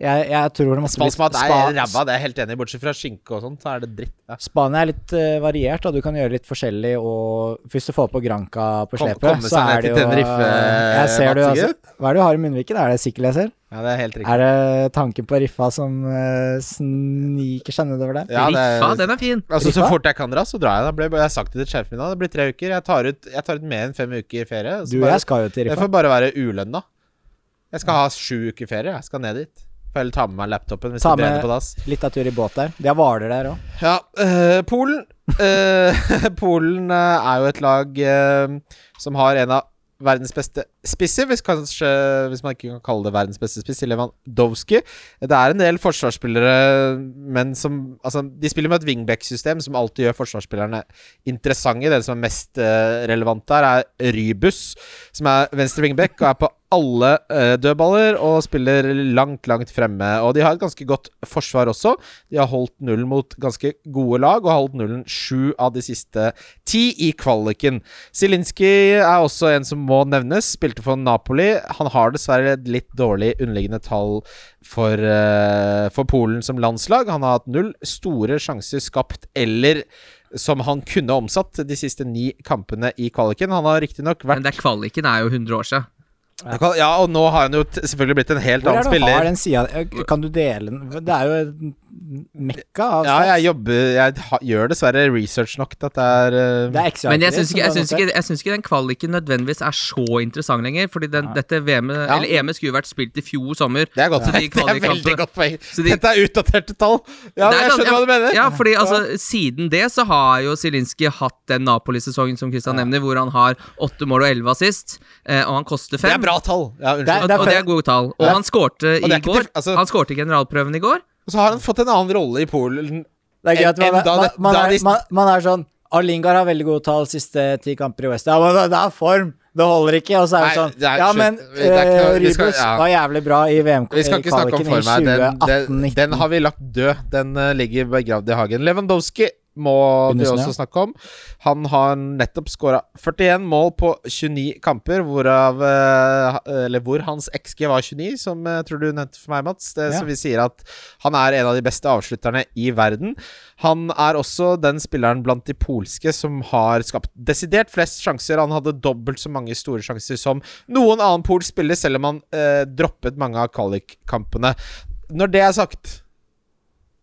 D: Jeg, jeg tror det måtte bli
C: Spansk mat er
D: Spa-
C: ræva, Sånn det er jeg helt enig i. Bortsett fra skinke og sånt, så er det dritt. Ja.
D: Spania er litt eh, variert, og du kan gjøre litt forskjellig. Og hvis du får på Granca på
C: Kom-
D: slepet,
C: komme
D: så
C: seg
D: er det
C: ned
D: jo
C: til Tenerife,
D: Jeg ser du,
C: Mats Inge.
D: altså, Hva er det du har i munnviken? Er det sikkel jeg ser?
C: ja, det er helt riktig.
D: Er det tanken på riffa som eh, sniker seg nedover der?
C: Ja, det er-
B: Riffa, den er fin.
C: Altså, så
D: Riktig.
C: fort jeg kan dra, så drar jeg. Da blir, jeg har sagt det til sjefen min da. Det blir tre uker. Jeg tar ut, jeg tar ut mer enn fem uker i ferie. så
D: Du og
C: bare,
D: jeg skal jo til
C: det
D: riffa.
C: får bare være ulønna. Jeg skal ha sju uker ferie. Jeg skal ned dit. Får heller ta med meg laptopen hvis
D: Ta
C: det brenner
D: med-
C: på dass.
D: Litt av tur i båt der. De har Hvaler der òg.
C: Ja, øh, Polen øh, Polen øh, er jo et lag øh, som har en av verdens beste spisser, hvis, kanskje, hvis man ikke kan kalle det verdens beste spiss, i Lewandowski. Det er en del forsvarsspillere, men som Altså, de spiller med et wingback-system som alltid gjør forsvarsspillerne interessante. Den som er mest øh, relevant der, er Rybus, som er venstre wingback og er på alle øh, dødballer og spiller langt, langt fremme. Og de har et ganske godt forsvar også. De har holdt nullen mot ganske gode lag, og har holdt nullen sju av de siste ti i kvaliken. Zielinski er også en som må nevnes. Spilte for Napoli. Han har dessverre et litt dårlig underliggende tall for, eh, for Polen som landslag. Han har hatt null store sjanser skapt eller som han kunne omsatt de siste ni kampene i kvaliken. Han har riktignok vært
B: Men det er kvaliken er jo 100 år siden.
C: Ja, og nå har han jo t- selvfølgelig blitt en helt
D: Hvor
C: annen
D: er det du har
C: spiller.
D: den sida? Kan du dele den? Det er jo et mekka altså. av
C: Ja,
D: stats.
C: jeg jobber Jeg ha, gjør dessverre research nok til at det er eh,
D: Det er XR-er
B: Men jeg syns
D: som
B: ikke,
D: du
B: jeg
D: har
B: syns ikke, jeg syns ikke den kvaliken nødvendigvis er så interessant lenger. Fordi den, dette VM-et
C: Ja.
B: eller EM-et skulle jo vært spilt i fjor sommer.
C: Det er godt
B: Så de
C: poeng. Det er
B: kvalikkampene-
C: veldig godt poeng.
B: Så de-
C: Dette er utdaterte tall. Ja,
B: Det er
C: jeg
B: gans-
C: skjønner hva du mener.
B: Ja, fordi altså, siden det så har jo Zielinski hatt den Napoli-sesongen som Christian nevner, hvor han har åtte mål og elleve assist, eh, og han koster
C: det er
B: fem.
C: bra tall. Ja, unnskyld.
D: Det er-
B: Og, og det er gode tall. Og
C: Ja.
B: han skårte i
C: Og det er ikke
B: går.
C: tilf- altså-
B: Han skårte i generalprøven i går.
C: Og så har han fått en annen rolle i Polen.
D: Det er gøy at
C: Enn-
D: man,
C: enn da
D: man,
C: det-
D: man,
C: da
D: er,
C: de-
D: man, man er sånn «Å, Lingard har veldig gode tall siste ti kamper i West. Ja, men det, det er form! Det holder ikke. Og så er det
C: Nei,
D: sånn
C: det er-
D: Ja,
C: slutt.
D: men
C: Det er ikke noe-
D: eh,
C: vi skal-
D: Rybus
C: ja.
D: var jævlig bra i
C: Vi skal ikke snakke om
D: VM-kvaliken i
C: form her. Den, den,
D: 2018-19.
C: den har vi lagt død. Den eh, ligger begravd i hagen. Lewandowski må vi
D: Gundersen,
C: også snakke om. Han har nettopp skåra 41 mål på 29 kamper, hvorav eh, ha- Eller hvor hans XG var 29, som jeg tror du nevnte for meg, Mats. Det,
D: Ja.
C: Så vi sier at han er en av de beste avslutterne i verden. Han er også den spilleren blant de polske som har skapt desidert flest sjanser. Han hadde dobbelt så mange store sjanser som noen annen polsk spiller, selv om han eh, droppet mange av kvalikkampene. Når det er sagt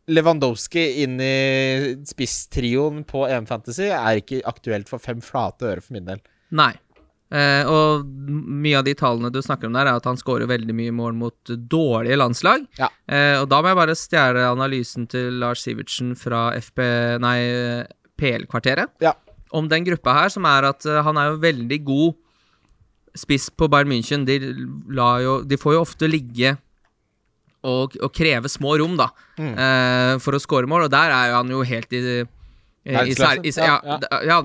C: Lewandowski inn i spisstrioen på EM Fantasy er ikke aktuelt for fem flate øre for min del.
B: Nei. Eh, og m- mye av de tallene du snakker om der, er at han scorer veldig mye mål mot dårlige landslag.
C: Ja.
B: Eh, og da må jeg bare stjele analysen til Lars Sivertsen fra FP... Nei, eh, PL-kvarteret.
C: Ja.
B: Om den gruppa her, som er at eh, han er jo veldig god spiss på Bayern München. De, lar jo, de får jo ofte ligge og, og kreve små rom, da,
C: Mm.
B: eh, for å score mål, og der er jo han jo helt i, eh, i,
C: Verdensklasse.
B: sær- i, ja,
C: Ja,
B: ja,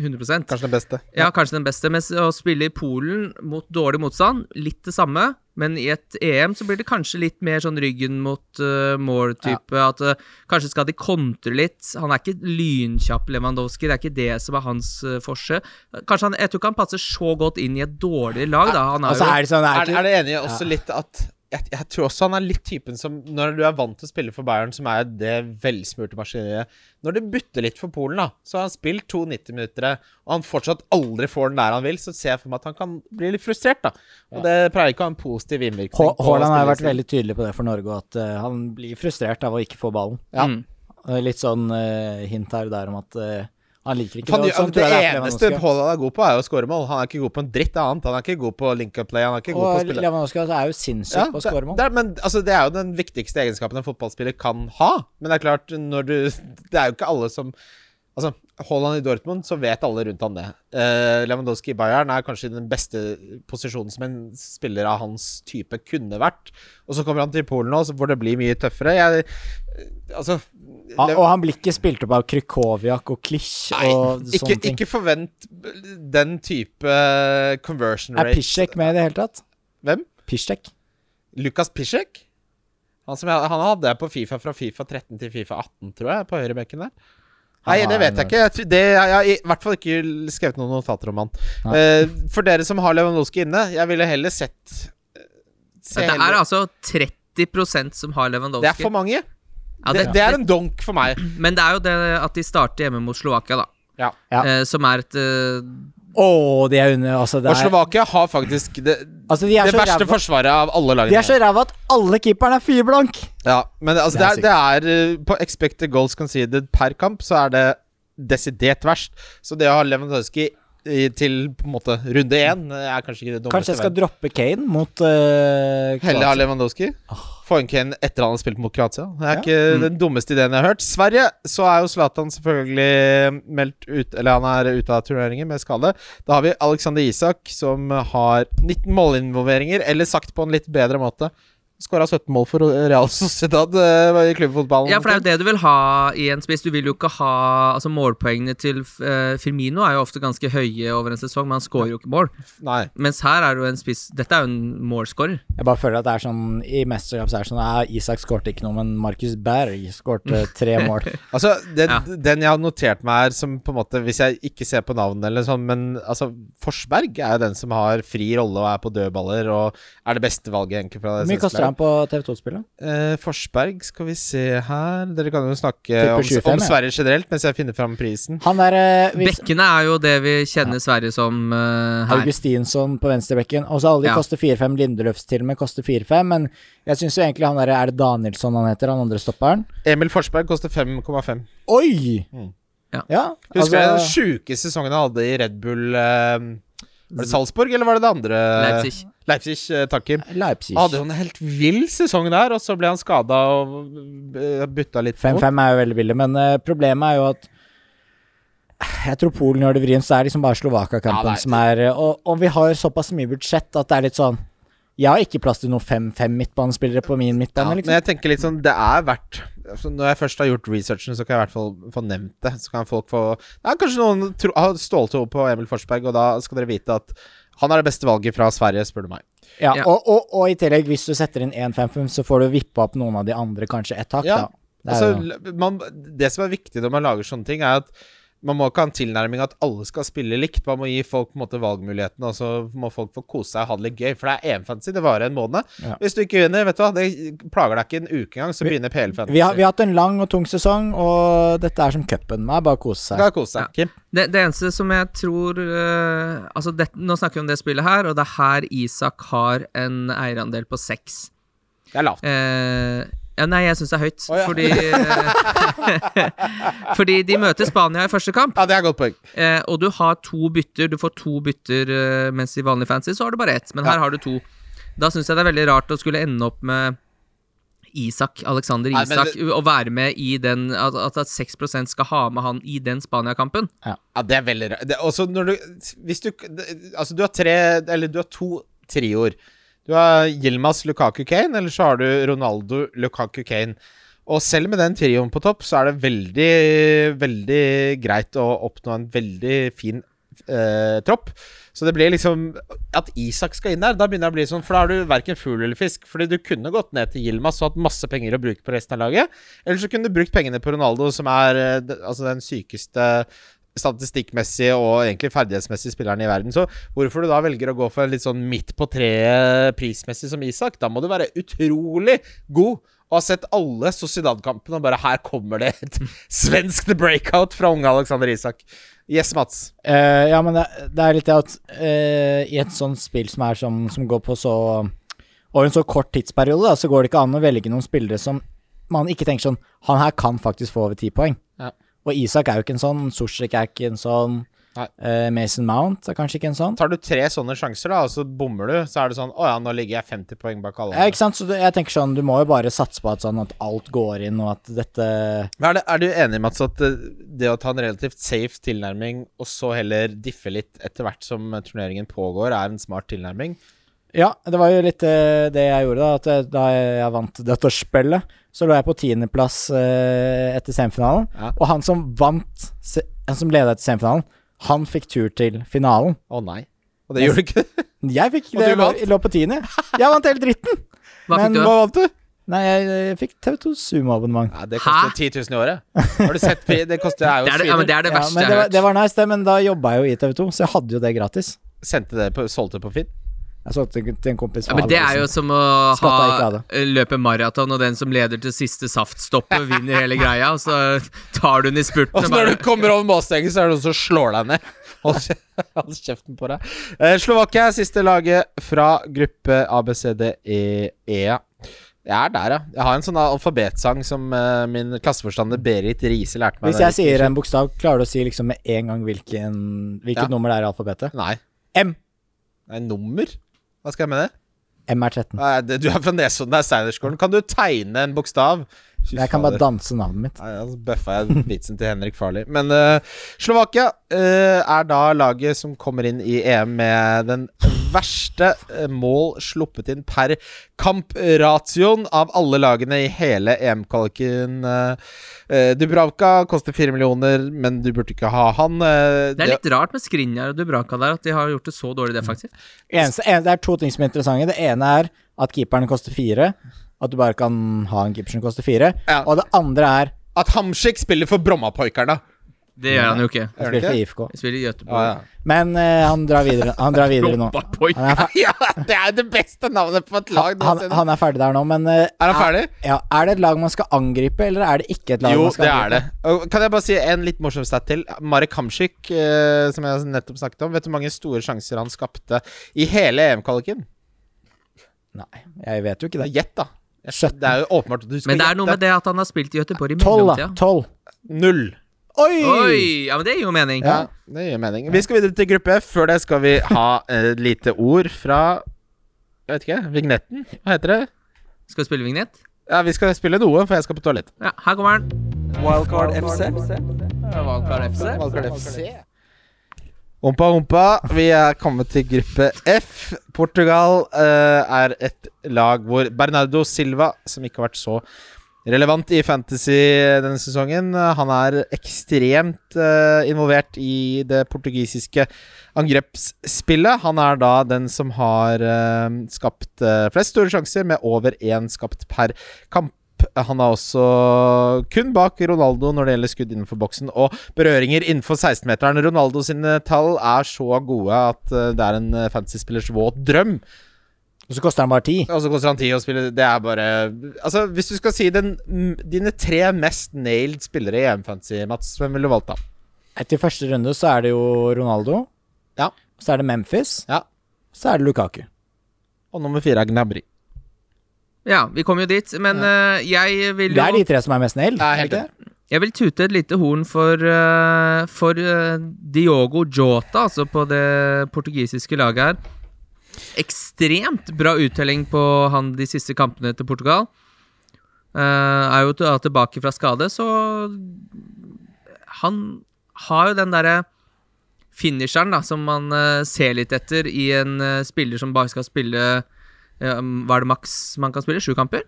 B: 100
C: Kanskje den beste.
B: ja, kanskje den beste. Mens å spille i Polen mot dårlig motstand, litt det samme. Men i et EM så blir det kanskje litt mer sånn ryggen mot eh, mål-type. At eh, kanskje skal de kontre litt. Han er ikke lynkjapp Lewandowski, det er ikke det som er hans uh, forse. Kanskje han, Jeg tror ikke han passer så godt inn i et dårlig lag, da. Han
D: Og
B: er
D: så
B: jo
D: er det sånn det
C: Er,
D: er ikke,
C: er det enig også litt at jeg, jeg tror også han er litt typen som Når du er vant til å spille for Bayern, som er det velsmurte maskineriet Når du butter litt for Polen, da, så har han spilt to 90-minuttere, og han fortsatt aldri får den der han vil, så ser jeg for meg at han kan bli litt frustrert, da. Og det pleier ikke å ha en positiv innvirkning.
D: Hå-
C: på
D: Haaland har jo vært
C: spillestilen.
D: veldig tydelig på det for Norge, og at eh, han blir frustrert av å ikke få ballen.
C: Ja.
B: Mm.
D: Og Litt sånn eh, hint her og der om at eh, han liker ikke
C: Han,
D: det. og
C: gjør-
D: sånn
C: altså, det
D: tror jeg er for
C: eneste
D: Lewandowski.
C: Haaland er god på, er jo å skåre mål. Han er ikke god på en dritt annet. Han er ikke god på link-up-play. Han er ikke god på å
D: Og
C: spille
D: Lewandowski er jo sinnssyk
C: Ja,
D: på å
C: det-
D: skåre mål.
C: det er- men altså, det er jo den viktigste egenskapen en fotballspiller kan ha. Men det er klart, når du Det er jo ikke alle som Altså, Haaland i Dortmund, så vet alle rundt han det. Eh, Lewandowski i Bayern er kanskje i den beste posisjonen som en spiller av hans type kunne vært. Og så kommer han til Polen nå, så får det bli mye tøffere. Jeg eh, Altså
D: Ja,
C: Lew-
D: Ah, og han blir ikke spilt opp av Krykowiak og Klisj
C: Nei,
D: og
C: ikke,
D: sånne ting.
C: ikke forvent den type eh, conversion
D: Er
C: rate.
D: Pisjek med i det hele tatt?
C: Hvem?
D: Pisjek?
C: Lukas Piszek? Han, som jeg, han hadde jeg på Fifa fra Fifa 13 til Fifa 18, tror jeg, på høyrebekken der. Nei,
D: Han
C: det
D: er
C: vet jeg
D: en-
C: ikke. Jeg, tror- det, jeg har i hvert fall ikke skrevet noen notater om han. Eh, for dere som har Lewandowski inne, jeg ville heller sett eh, se
B: Det
C: heller-
B: er altså 30 som har Lewandowski.
C: det er for mange.
B: ja,
C: det, det er en donk for meg.
B: Men det er jo det at de starter hjemme mot Slovakia, da.
C: Ja.
D: Ja.
B: Eh, som er et eh,
D: Å, de er under Altså, det
C: Og
D: er,
C: Slovakia har faktisk det,
D: altså, de er
C: det
D: så
C: verste
D: ræva-
C: forsvaret av alle lagene.
D: de er så ræva at alle keeperne er fireblank!
C: Ja, men altså, det
D: Det
C: er,
D: er
C: det er, eh, På expected goals conceded per kamp, så er det desidert verst. Så det å ha Lewandowski i, til på en måte runde én eh, er kanskje ikke det dummeste.
D: Kanskje jeg skal
C: valget.
D: droppe Kane mot eh,
C: Heller ha
D: Kroatia.
C: Lewandowski. Få inn Kane etter han har spilt mot Kroatia. Det er ikke den dummeste ideen jeg har hørt. Sverige så er jo Zlatan selvfølgelig eh, meldt ut Eller han er ute av turneringen med skade. Da har vi Alexander Isak, som har 19 målinvolveringer, eller sagt på en litt bedre måte Skåra 17 mål for Real Sociedad eh, i klubbfotballen.
B: Ja, for det er jo det du vil ha i en spiss. Du vil jo ikke ha Altså, målpoengene til eh, Firmino er jo ofte ganske høye over en sesong, men han scorer jo ikke mål.
C: Nei.
B: Mens her er det jo en spiss Dette er jo en målscorer.
D: Jeg bare føler at det er sånn I mesterskap så er det sånn ja, Isak skårte ikke noe, men Markus Berg skårte tre mål.
C: Altså, den,
B: Ja.
C: den jeg har notert meg her, som på en måte Hvis jeg ikke ser på navnet eller sånn, men altså Forsberg er jo den som har fri rolle og er på dødballer og er det beste valget, egentlig, fra det
D: Hvor mye koster
C: svenske laget.
D: han på TV2-spillet?
C: Eh, Forsberg, skal vi se her Dere kan jo snakke
D: Tipper
C: om,
D: 25,
C: om
D: ja.
C: Sverige generelt mens jeg finner fram prisen.
D: Han der eh, hvis-
B: Bekkene er jo det vi kjenner Sverige som eh, her.
D: Augustinsson på venstrebekken. Og så alle de
B: Ja.
D: koster 4-5. Lindeløfs til og med koster 4-5. Men jeg syns jo egentlig han der Er det Danielsson han heter, han andre stopperen?
C: Emil Forsberg koster 5,5.
D: Oi!
B: Ja.
C: Mm. Husker du den
D: altså,
C: sjuke sesongen han hadde i Red Bull eh, Var det Salzburg, eller var det det andre?
B: Leipzig.
C: Leipzig, eh, takk, Kim.
D: Leipzig.
C: Han hadde jo en helt vill sesong der, og så ble han skada og eh, bytta litt
D: 5-5 er jo veldig billig, men eh, problemet er jo at jeg tror Polen gjør det vrient, så det er liksom bare
C: Ja, det
D: Slovakia-kampen
C: er-
D: som er eh, og, og vi har såpass mye budsjett at det er litt sånn Jeg har ikke plass til noen 5-5 midtbanespillere på min midtbane,
C: Ja,
D: liksom.
C: Men jeg tenker litt sånn, det er verdt altså, Når jeg først har gjort researchen, så kan jeg i hvert fall få nevnt det. Så kan folk få Det er kanskje noen tro, har ståltro på Emil Forsberg, og da skal dere vite at han er det beste valget fra Sverige, spør du meg.
D: Ja,
B: Ja.
D: Og, og, og i tillegg, hvis du setter inn 1-5-5, så får du vippa opp noen av de andre kanskje et hakk,
C: Ja.
D: da. Det er jo-
C: altså, man, det som er viktig når man lager sånne ting, er at man må ikke ha en tilnærming at alle skal spille likt. Man må gi folk på en måte valgmulighetene, og så må folk få kose seg og ha det litt gøy. For det er EM-fantasy, det varer en måned.
D: Ja.
C: Hvis du ikke vinner, vet du hva, det plager deg ikke en uke engang, så begynner PL-fantasy.
D: Vi har, vi har hatt en lang og tung sesong, og dette er som cupen. Det er bare å kose seg.
C: Skal kose seg. Kim?
B: Det, det eneste som jeg tror eh, Altså, det, nå snakker vi om det spillet her, og det er her Isak har en eierandel på seks.
C: Det er lavt.
B: Eh, ja, nei, jeg syns det er høyt,
C: Å, ja.
B: fordi eh, Fordi de møter Spania i første kamp,
C: Ja, det er et godt poeng.
B: eh, og du har to bytter. Du får to bytter, eh, mens i vanlig fancy så har du bare ett, men her har du to. Da syns jeg det er veldig rart å skulle ende opp med Isak, Alexander
C: Nei, men
B: Isak,
C: det-
B: å være med i den At, at 6 skal ha med han i den Spania-kampen.
C: Ja, det er veldig rart. Det- Også når du Hvis du det- Altså, du har tre Eller du har to trioer. Du har Yilmaz Lukaku Kane, eller så har du Ronaldo Lukaku Kane. Og selv med den trioen på topp, så er det veldig, veldig greit å oppnå en veldig fin eh, tropp. Så det blir liksom At Isak skal inn der, da begynner det å bli sånn, for da er du verken fugl eller fisk. Fordi du kunne gått ned til Yilmaz og hatt masse penger å bruke på resten av laget. Eller så kunne du brukt pengene på Ronaldo, som er eh, d- altså den sykeste statistikkmessige og egentlig ferdighetsmessige spilleren i verden. Så hvorfor du da velger å gå for litt sånn midt på treet prismessig som Isak, da må du være utrolig god og ha sett alle Sociedad-kampene og bare Her kommer det et svensk breakout fra unge Alexander Isak. Yes, Mats.
D: Eh, ja, men det, det er litt det at eh, i et sånt spill som, er som, som går på så Over en så kort tidsperiode, da, så går det ikke an å velge noen spillere som man ikke tenker sånn Han her kan faktisk få over ti poeng.
C: Ja.
D: Og Isak er jo ikke en sånn. Zuzek er ikke en sånn.
C: Nei.
D: eh, Mason Mount er kanskje ikke en sånn.
C: Tar du tre sånne sjanser, da, og så bommer du, så er det sånn Å ja, nå ligger jeg 50 poeng bak alle.
D: Ja, ikke sant? Så det- jeg tenker sånn, du må jo bare satse på at sånn at alt går inn, og at dette
C: Men er, det, er du enig, Mats, at eh, det å ta en relativt safe tilnærming, og så heller diffe litt etter hvert som eh, turneringen pågår, er en smart tilnærming?
D: Ja, det var jo litt eh, det jeg gjorde, da. At eh, da jeg vant dette spillet, så lå jeg på tiendeplass eh, etter semifinalen.
C: Ja.
D: Og han som vant, se- han som leda etter semifinalen, han fikk tur til finalen.
C: Å nei. Og det gjorde du ikke?
D: Jeg fikk
C: Og
D: det,
C: du vant?
D: lå, lå på tiende. Jeg vant hele dritten! Men
B: Hva fikk du?
C: Hva vant du?
D: Nei, jeg, jeg fikk TV2 Sumo-abonnement.
C: Nei, det
B: Hæ?
C: koster 10 000 i året. Har du sett pri- Det koster er jo
B: Det er det, ja, men det,
C: sviner.
D: Ja,
B: er det verste
D: men det,
B: jeg har
D: var,
B: hørt.
D: det var nice, det, men da jobba jeg jo i TV2, så jeg hadde jo det gratis.
C: Sendte det på, solgte på Finn?
D: Jeg solgte det til en kompis.
B: Ja, men Det er jo som å ha, eh,
D: Skatta ikke av det.
B: løpe maraton, og den som leder til siste saftstoppet, vinner hele greia. Og så tar du den i spurten.
C: Og
B: Og
C: så når
B: bare,
C: du kommer over målstreken, så er det noen som slår deg ned. Hold kje- Hold kjeften på deg. Eh, Slovakia er siste laget fra gruppe ABCDEA. E, Jeg er der, ja. Jeg har en sånn alfabetsang som eh, min klasseforstander Berit Riise lærte meg.
D: Hvis
C: da
D: jeg
C: gikk
D: sier
C: i-
D: en bokstav, klarer du å si liksom med en gang hvilken, hvilket
C: Ja.
D: nummer det er i alfabetet?
C: Nei.
D: M.
C: Nei, nummer? Hva skal jeg med det?
D: M er 13.
C: Nei, det- Du er fra Nesodden, det er Steinerskolen. Kan du tegne en bokstav? Fy
D: Jeg kan
C: fader.
D: bare danse navnet mitt.
C: Nei, altså bøffa jeg vitsen til Henrik Farley. Men eh, Slovakia eh, er da laget som kommer inn i EM med den verste eh, mål sluppet inn per kamp-ratioen av alle lagene i hele EM-kvaliken. Eh, eh, Dubravka koster fire millioner, men du burde ikke ha han. eh,
B: det er litt rart med Skrinjar og Dubranka der, at de har gjort det så dårlig defensivt.
D: Eneste, en, det er to ting som er interessante. Det ene er at keeperen koster fire. At du bare kan ha en keeper som koster fire.
C: Ja.
D: Og det andre er
C: At Hamsik spiller for Brommapoikarna!
B: Det gjør han jo ikke.
D: Han
C: Gjør det
D: spiller for IFK.
B: Vi spiller i
C: Ja,
B: Göteborg.
C: ja.
D: Men eh, han drar videre, han drar videre nå.
B: Loppa boy.
D: Han er, fer-
C: ja, det er jo det beste navnet på et lag
D: han,
C: noensinne!
D: han er ferdig der nå, men eh,
C: Er han ferdig?
D: ja, er det et lag man skal angripe, eller er det ikke et lag
C: Jo,
D: man skal
C: det er
D: angripe?
C: det. Og Kan jeg bare si en litt morsom stat til? Marek Hamsik, eh, som jeg nettopp snakket om, vet du hvor mange store sjanser han skapte i hele EM-kvaliken?
D: Nei, jeg vet jo ikke det.
C: Gjett, da. Jeg-
D: Sjøtten.
C: Det er jo åpenbart at du skal
B: Men det er
C: gjette.
B: noe med det at han har spilt i Göteborg i
D: Tolv, da.
B: mellomtida.
D: Tolv.
C: Null.
D: Oi!
B: Oi! Ja, men det gir jo mening.
C: Ja, det gir mening. Vi skal videre til gruppe F. Før det skal vi ha et lite ord fra Jeg vet ikke. Vignetten? Hva heter det?
B: Skal vi spille vignett?
C: Ja, Vi skal spille noe, for jeg skal på toalettet.
B: Ja, her kommer den.
A: Wildcard FC.
B: Valgkart FC.
C: Ompa, ompa. Vi er kommet til gruppe F. Portugal eh, er et lag hvor Bernardo Silva, som ikke har vært så relevant i fantasy denne sesongen, eh, han er ekstremt eh, involvert i det portugisiske angrepsspillet. Han er da den som har eh, skapt eh, flest store sjanser, med over én skapt per kamp. topp. Han er også kun bak Ronaldo når det gjelder skudd innenfor boksen og berøringer innenfor 16-meteren. Ronaldo sine tall er så gode at eh, det er en eh, fantasy-spillers våt drøm.
D: Og så koster han bare ti.
C: Og så koster han ti å spille Altså, Det er bare Altså, hvis du skal si den, m- dine tre mest nailed spillere i EM-fantasy, Mats, hvem ville du valgt da?
D: Etter første runde så er det jo Ronaldo.
C: Ja.
D: Så er det Memphis.
C: Ja.
D: Så er det Lukaku.
C: Og nummer fire er Gnabry.
B: Ja, vi kom jo dit, men eh, jeg vil
D: Det er
B: jo
D: de tre som er mest nail.
C: Nei,
D: er
C: helt
D: det ikke det?
B: Jeg vil tute et lite horn for, eh, for eh, Diogo Jota, altså på det portugisiske laget her. Ekstremt bra uttelling på han de siste kampene til Portugal. Eh, er jo til- tilbake fra skade, så Han har jo den derre finisheren da, som man eh, ser litt etter i en eh, spiller som bare skal spille eh, Hva er det maks man kan spille? Sju kamper?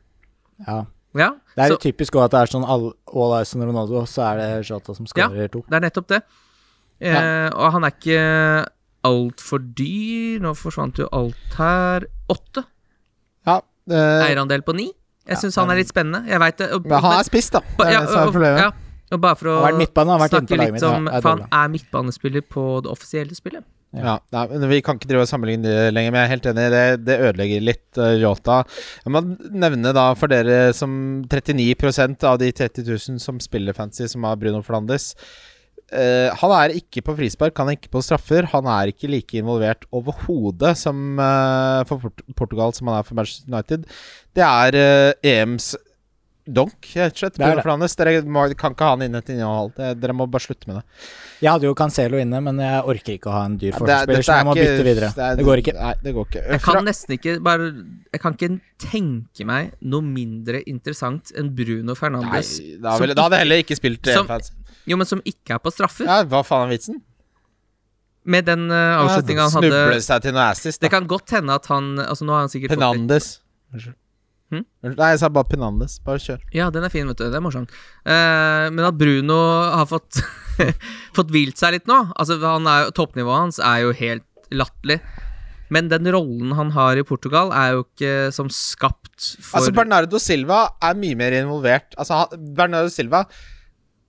D: Ja.
B: Ja.
D: Det er
B: så-
D: jo typisk også at det er sånn all, all eyes on Ronaldo, så er det Jota som skårer to.
B: Det er nettopp det. Eh, Og han er ikke altfor dyr. Nå forsvant jo alt her. Åtte
C: Ja. eh,
B: eierandel på ni. Jeg syns han er litt spennende. Jeg vet det. og-
C: men han er spiss, da. Det
B: men-
C: er
B: ja,
C: det som er
B: og-
C: problemet.
B: ja, og bare for
D: Han har vært
B: å
D: midtbane, han har vært inne på laget
B: snakke litt
D: mitt.
B: om
D: Ja, det er
B: For han
D: dårlig.
B: er midtbanespiller på det offisielle spillet.
C: Ja, nei, men Vi kan ikke drive og sammenligne det lenger, men jeg er helt enig. Det, det ødelegger litt uh, Jota. Jeg må nevne da for dere som 39 av de 30 000 som spiller fancy, som har Bruno Fernandes eh, Han er ikke på frispark, han er ikke på straffer. Han er ikke like involvert overhodet som eh, for Port Portugal som han er for Manchester United. Det er eh, EMs donk, rett og slett.
D: Det er
C: Bruno
D: det.
C: Fernandes. Dere må, kan ikke ha han inne til innhold. Det- Dere må bare slutte med det.
D: Jeg hadde jo Cancelo inne, men jeg orker ikke å ha en dyr
C: Det er-
D: forsvarsspiller,
C: dette
D: så
C: er
D: jeg må
C: ikke-
D: bytte videre.
C: er-
D: Det går ikke.
C: Nei, det går ikke.
B: Jeg
C: Fra-
B: kan nesten ikke bare Jeg kan ikke tenke meg noe mindre interessant enn Bruno Fernandes.
C: Nei, da, ville, da hadde jeg heller ikke spilt
B: som-
C: EM-fans.
B: Jo, men som ikke er på straffer.
C: Ja, hva faen er vitsen?
B: Med den uh, avslutninga han
C: Snuble
B: hadde
C: seg til noe assis.
B: Det kan godt hende at han Altså, nå har han sikkert fått litt-
C: Penandes. Unnskyld.
B: Hm?
C: Unnskyld, Nei, jeg sa bare Penandes. Bare kjør.
B: Ja, den er fin, vet du. Det er morsomt. Eh, men at Bruno har fått Fått hvilt seg litt nå Altså, han er, jo- Toppnivået hans er jo helt latterlig. Men den rollen han har i Portugal, er jo ikke som skapt for
C: Altså, Bernardo Silva er mye mer involvert. Altså, han, Bernardo Silva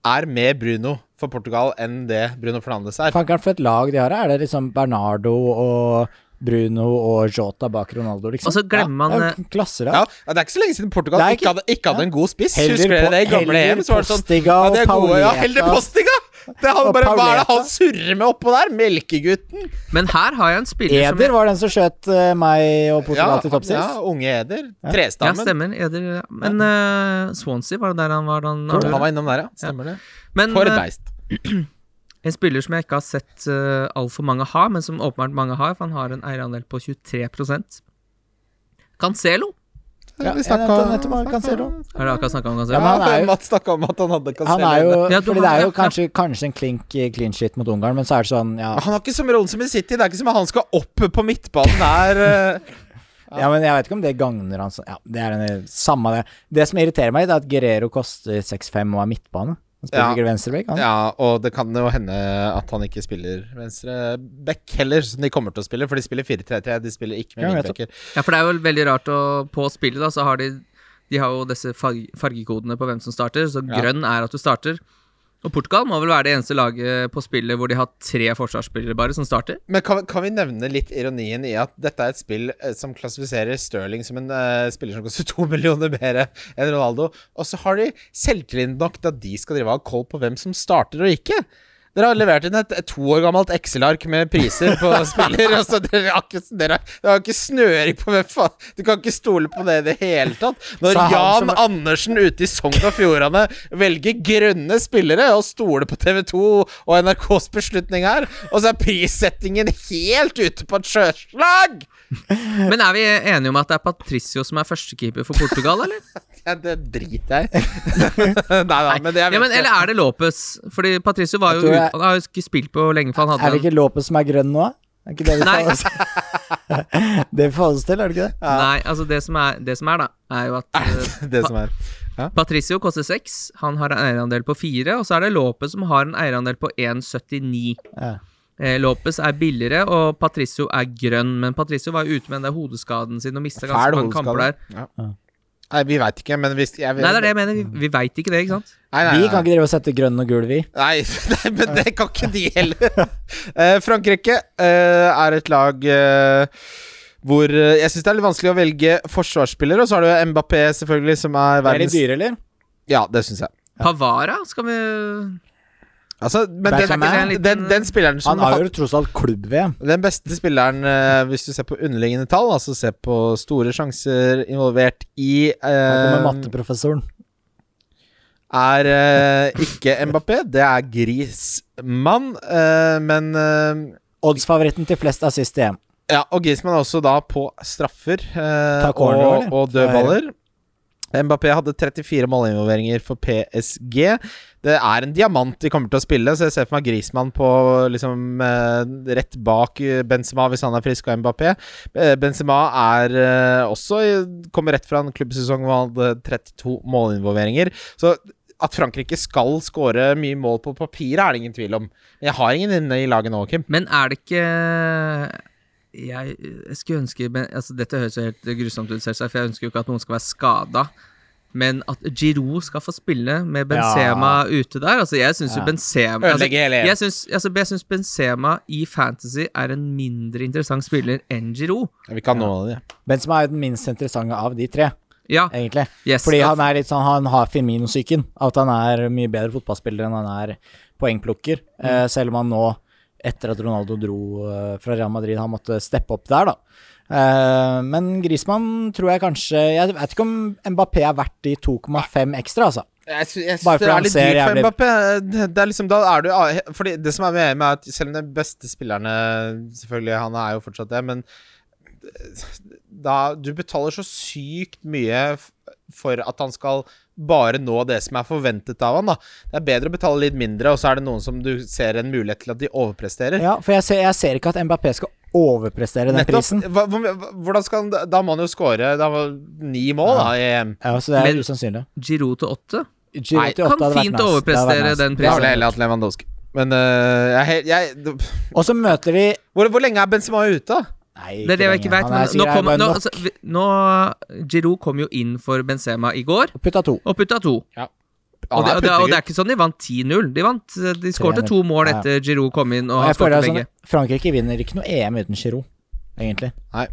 C: er med Bruno for Portugal enn det Bruno Fernandes er.
D: Fankeren for et lag de har her. Er det liksom Bernardo og Bruno og Jota bak Ronaldo, liksom?
B: Og så glemmer
D: ja,
B: man,
D: det er jo Klasser, da.
C: Ja, Det er ikke så lenge siden Portugal
D: Det er
C: ikke,
D: ikke-
C: hadde, ikke hadde en god spiss.
D: Heller
C: Husker dere
D: po-
C: det i gamle
D: heller
C: EM? Så var det sånn
D: Postiga
C: ja,
D: og
C: det er gode, ja,
D: Pauleta.
C: Heller Postiga! Det er han
D: Og
C: bare, hva er det han
D: Pauleta.
C: surrer med oppå der? Melkegutten!
B: Men her har jeg en spiller som
D: Eder var den som skjøt eh, meg og Portugal til topps
C: ja,
D: sist.
C: unge Eder.
B: Ja,
C: Trestammen.
B: stemmer. Eder, ja. Men eh, Swansea, var det der han var? da Han,
C: Han var innom der, ja. Stemmer det.
B: Men
C: For et
B: eh,
C: beist.
B: en spiller som jeg ikke har sett uh, altfor mange ha, men som åpenbart mange har, for han har en eierandel på 23 Cancelo.
D: Ja,
C: Vi snakka-
D: nettopp, nettopp,
C: snakka-
D: Cancelo.
B: Har dere akkurat snakka om Cancelo?
D: Ja, men han er jo-
C: Mats snakka om at han hadde Cancelo.
D: Han er jo,
C: inne.
B: Ja, du-
D: fordi det er
B: ja,
D: jo
B: ja.
D: kanskje, kanskje en klink eh, clean shit mot Ungarn, men så er det sånn, ja
C: Han har ikke som rollen som i City. Det er ikke som at han skal opp på midtbanen der. eh.
D: Ja, men jeg vet ikke om det gagner han så Ja, det er en eh, samme det. Det som irriterer meg, det er at Guerrero koster 6-5 og er midtbane. Han spiller
C: Ja.
D: ikke venstreback, han.
C: ja, og det kan jo hende at han ikke spiller venstre back heller, som de kommer til å spille, for de spiller 4-3-3. De spiller ikke med
D: Ja,
C: wingbacker.
B: Ja, for det er jo veldig rart å På spillet da, så har de De har jo disse farg, fargekodene på hvem som starter, så
C: Ja.
B: grønn er at du starter. Og Portugal må vel være det eneste laget på spillet hvor de har tre forsvarsspillere bare som starter.
C: Men kan, kan vi nevne litt ironien i at dette er et spill eh, som klassifiserer Stirling som en eh, spiller som koster to millioner mer enn Ronaldo, og så har de selvtillit nok til at de skal drive av koll på hvem som starter og ikke. Dere har levert inn et, et to år gammelt Excel-ark med priser på spiller, og så dere har ikke, dere har, dere har ikke snøring på hvem faen Du kan ikke stole på det i det hele tatt. Når
D: Så han
C: Jan
D: som-
C: Andersen ute i Sogn og Fjordane velger grønne spillere og stoler på TV 2 og NRKs beslutning her, og så er prissettingen helt ute på et sjøslag!
B: Men er vi enige om at det er Patricio som er førstekeeper for Portugal, eller?
C: Ja, det driter jeg i. Nei da, men det
B: Ja,
C: jeg
B: men,
C: vet
B: eller er det Lopez? Fordi Patricio var jo
D: Jeg tror
B: ut,
D: jeg-
B: Han har jo ikke spilt på lenge, for
D: Er
B: han
D: det
B: hadde en
D: ikke Lopez som er grønn nå? Er ikke det vi
B: Nei.
D: faller oss Det vi faller oss til, er det ikke det?
B: Nei, altså det som er, det som er da, er jo at eh,
C: det som er
B: Patricio koster seks, han har en eierandel på fire, og så er det Lopez som har en eierandel på 1,79.
D: Ja.
B: Eh, Lopez er billigere, og Patricio er grønn. Men Patricio var jo ute med den der hodeskaden sin og mista ganske mange kamper der.
C: Nei, vi veit ikke, men hvis jeg,
B: Nei, det er det jeg mener. Vi, vi veit ikke det, ikke sant?
C: Nei, nei,
D: Vi
C: nei.
D: kan ikke drive og sette grønn og gul, vi.
C: Nei, nei, men det kan ikke de heller. Eh, Frankrike eh, er et lag eh, hvor eh, Jeg syns det er litt vanskelig å velge forsvarsspillere, og så har du jo Mbappé, selvfølgelig, som er
D: Er de
C: verdens
D: dyre, eller?
C: Ja, det syns jeg.
B: Pavara skal vi
C: Altså, men
D: Beckham
C: den,
D: er
C: den,
B: en liten-
C: den, spilleren som
D: Han
C: har-
D: har jo tross alt klubb-VM.
C: Den beste spilleren, eh, hvis du ser på underliggende tall, altså se på store sjanser involvert i
D: Her
C: eh,
D: kommer matteprofessoren.
C: Er eh, ikke Mbappé, det er Grismann. eh, men eh,
D: Oddsfavoritten til flest assist i EM.
C: Ja, og Griezmann er også da på straffer eh,
D: Ta corner,
C: og,
D: eller?
C: og dødballer. Mbappé hadde 34 målinvolveringer for PSG. Det er en diamant de kommer til å spille, så jeg ser for meg Griezmann på liksom eh, rett bak eh, Benzema hvis han er frisk, og Mbappé. Eh, Benzema er eh, også i- kommer rett fra en klubbsesong hvor han hadde 32 målinvolveringer. Så at Frankrike skal skåre mye mål på papiret, er det ingen tvil om. Jeg har ingen inne i laget nå, Kim.
B: Men er det ikke jeg, jeg skulle ønske men, altså, Dette høres jo helt grusomt ut, selvsagt, for jeg ønsker jo ikke at noen skal være skada. Men at Giroud skal få spille med Benzema ute der Altså, jeg syns jo
D: Ja.
B: Benzema altså,
C: Ødelegge hele
B: jeg syns, altså, jeg syns Benzema i Fantasy er en mindre interessant spiller enn Giroud.
C: Vi kan nå det.
D: Benzema er jo den minst interessante av de tre,
B: Ja,
D: egentlig.
B: yes.
D: Fordi han er litt sånn, han har Firmino-psyken. At han er mye bedre fotballspiller enn han er poengplukker.
B: Mm.
D: Eh, selv om han nå, etter at Ronaldo dro eh, fra Real Madrid, han måtte steppe opp der, da. Eh, men Griezmann tror jeg kanskje Jeg vet ikke om Mbappé er verdt de 2,5 ekstra, altså.
C: Jeg sy- jeg
D: Bare
C: syns det
D: for
C: er
D: han
C: litt
D: ser
C: dyrt for
D: jævlig-
C: Mbappé. Det det er liksom, da er du, av- fordi det som er med EM, er at selv om de beste spillerne Selvfølgelig, han er jo fortsatt det, men eh, da, du betaler så sykt mye f- for at han skal bare nå det som er forventet av han da. Det er bedre å betale litt mindre, og så er det noen som du ser en mulighet til at de overpresterer.
D: Ja, for jeg ser, jeg ser ikke at Mbappé skal overprestere den
C: Nettopp.
D: prisen.
C: Hva, hva- hvordan skal han Da må han jo score da, var ni mål, da, i EM.
D: Ja, så det er
B: Men-
D: usannsynlig.
B: Giroud til åtte?
D: Giroud
C: Nei,
D: til åtte
B: kan
D: hadde vært
B: fint
D: nice. Det hadde vært
B: overprestere
D: nice.
B: den
C: Det
B: prisen.
C: har vel heller hatt Lewandowski. Men øh, jeg, jeg
D: Og så møter vi
C: Hvor, hvor lenge er Benzema ute, da?
D: Nei,
B: Det er det jeg
D: lenger.
B: ikke veit.
D: Han er
B: Nå,
D: sikkert
B: kom,
D: bare
B: nå,
D: nok.
B: altså, vi- nå Giroud kom jo inn for Benzema i går
D: Putta to.
B: og putta to. Og
C: Han
B: det,
C: er
B: og, det, og det
C: puttegutt.
B: er ikke sånn de vant 10-0. De vant, de skårte to mål
D: Ja.
B: etter Giroud kom inn og
D: Og
B: han
D: jeg føler
B: skårte
D: at
B: begge.
D: sånn, Frankrike vinner ikke noe EM uten Giroud, egentlig.
C: Nei.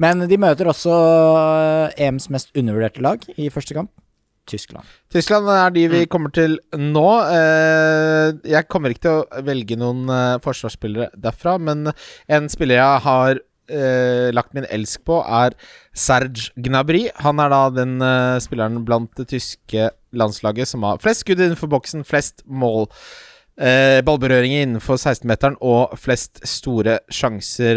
D: Men de møter også eh, EMs mest undervurderte lag i første kamp, Tyskland.
C: Tyskland er de
D: Mm.
C: vi kommer til nå. Eh, Jeg kommer ikke til å velge noen eh, forsvarsspillere derfra, men en spiller jeg har eh, lagt min elsk på, er Serge Gnabry. Han er da den eh, spilleren blant det tyske landslaget som har flest skudd innenfor boksen, flest mål. Eh, ballberøringer innenfor 16-meteren og flest store sjanser.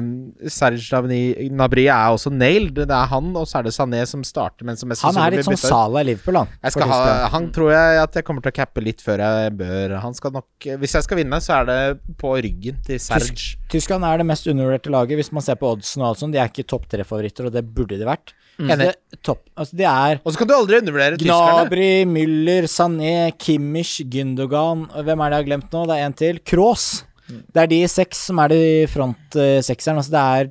C: Eh, Serge Gnabry- Gnabry er også nailed. Det er han, og så er det Sané som starter, men som mest
D: Han er
C: sannsynlig
D: litt
C: blir
D: sånn
C: byttet ut.
D: Sala i Liverpool, han.
C: Jeg
D: for
C: skal ha,
D: Tyskland.
C: han tror jeg at jeg kommer til å cappe litt før jeg bør. Han skal nok Hvis jeg skal vinne, så er det på ryggen til Serge.
D: Tyskland er det mest undervurderte laget, hvis man ser på oddsen og alt sånt. De er ikke topp tre-favoritter, og det burde de vært.
C: Mm. Enig.
D: Det, topp, altså, de er
C: Og så kan du aldri undervurdere tyskerne.
D: Gnabry, Müller, Sané, Kimmich, Gündogan Hvem er det jeg har glemt nå? Det er en til. Kroos.
B: Mm.
D: Det er de seks som er de frontsekseren. Altså det er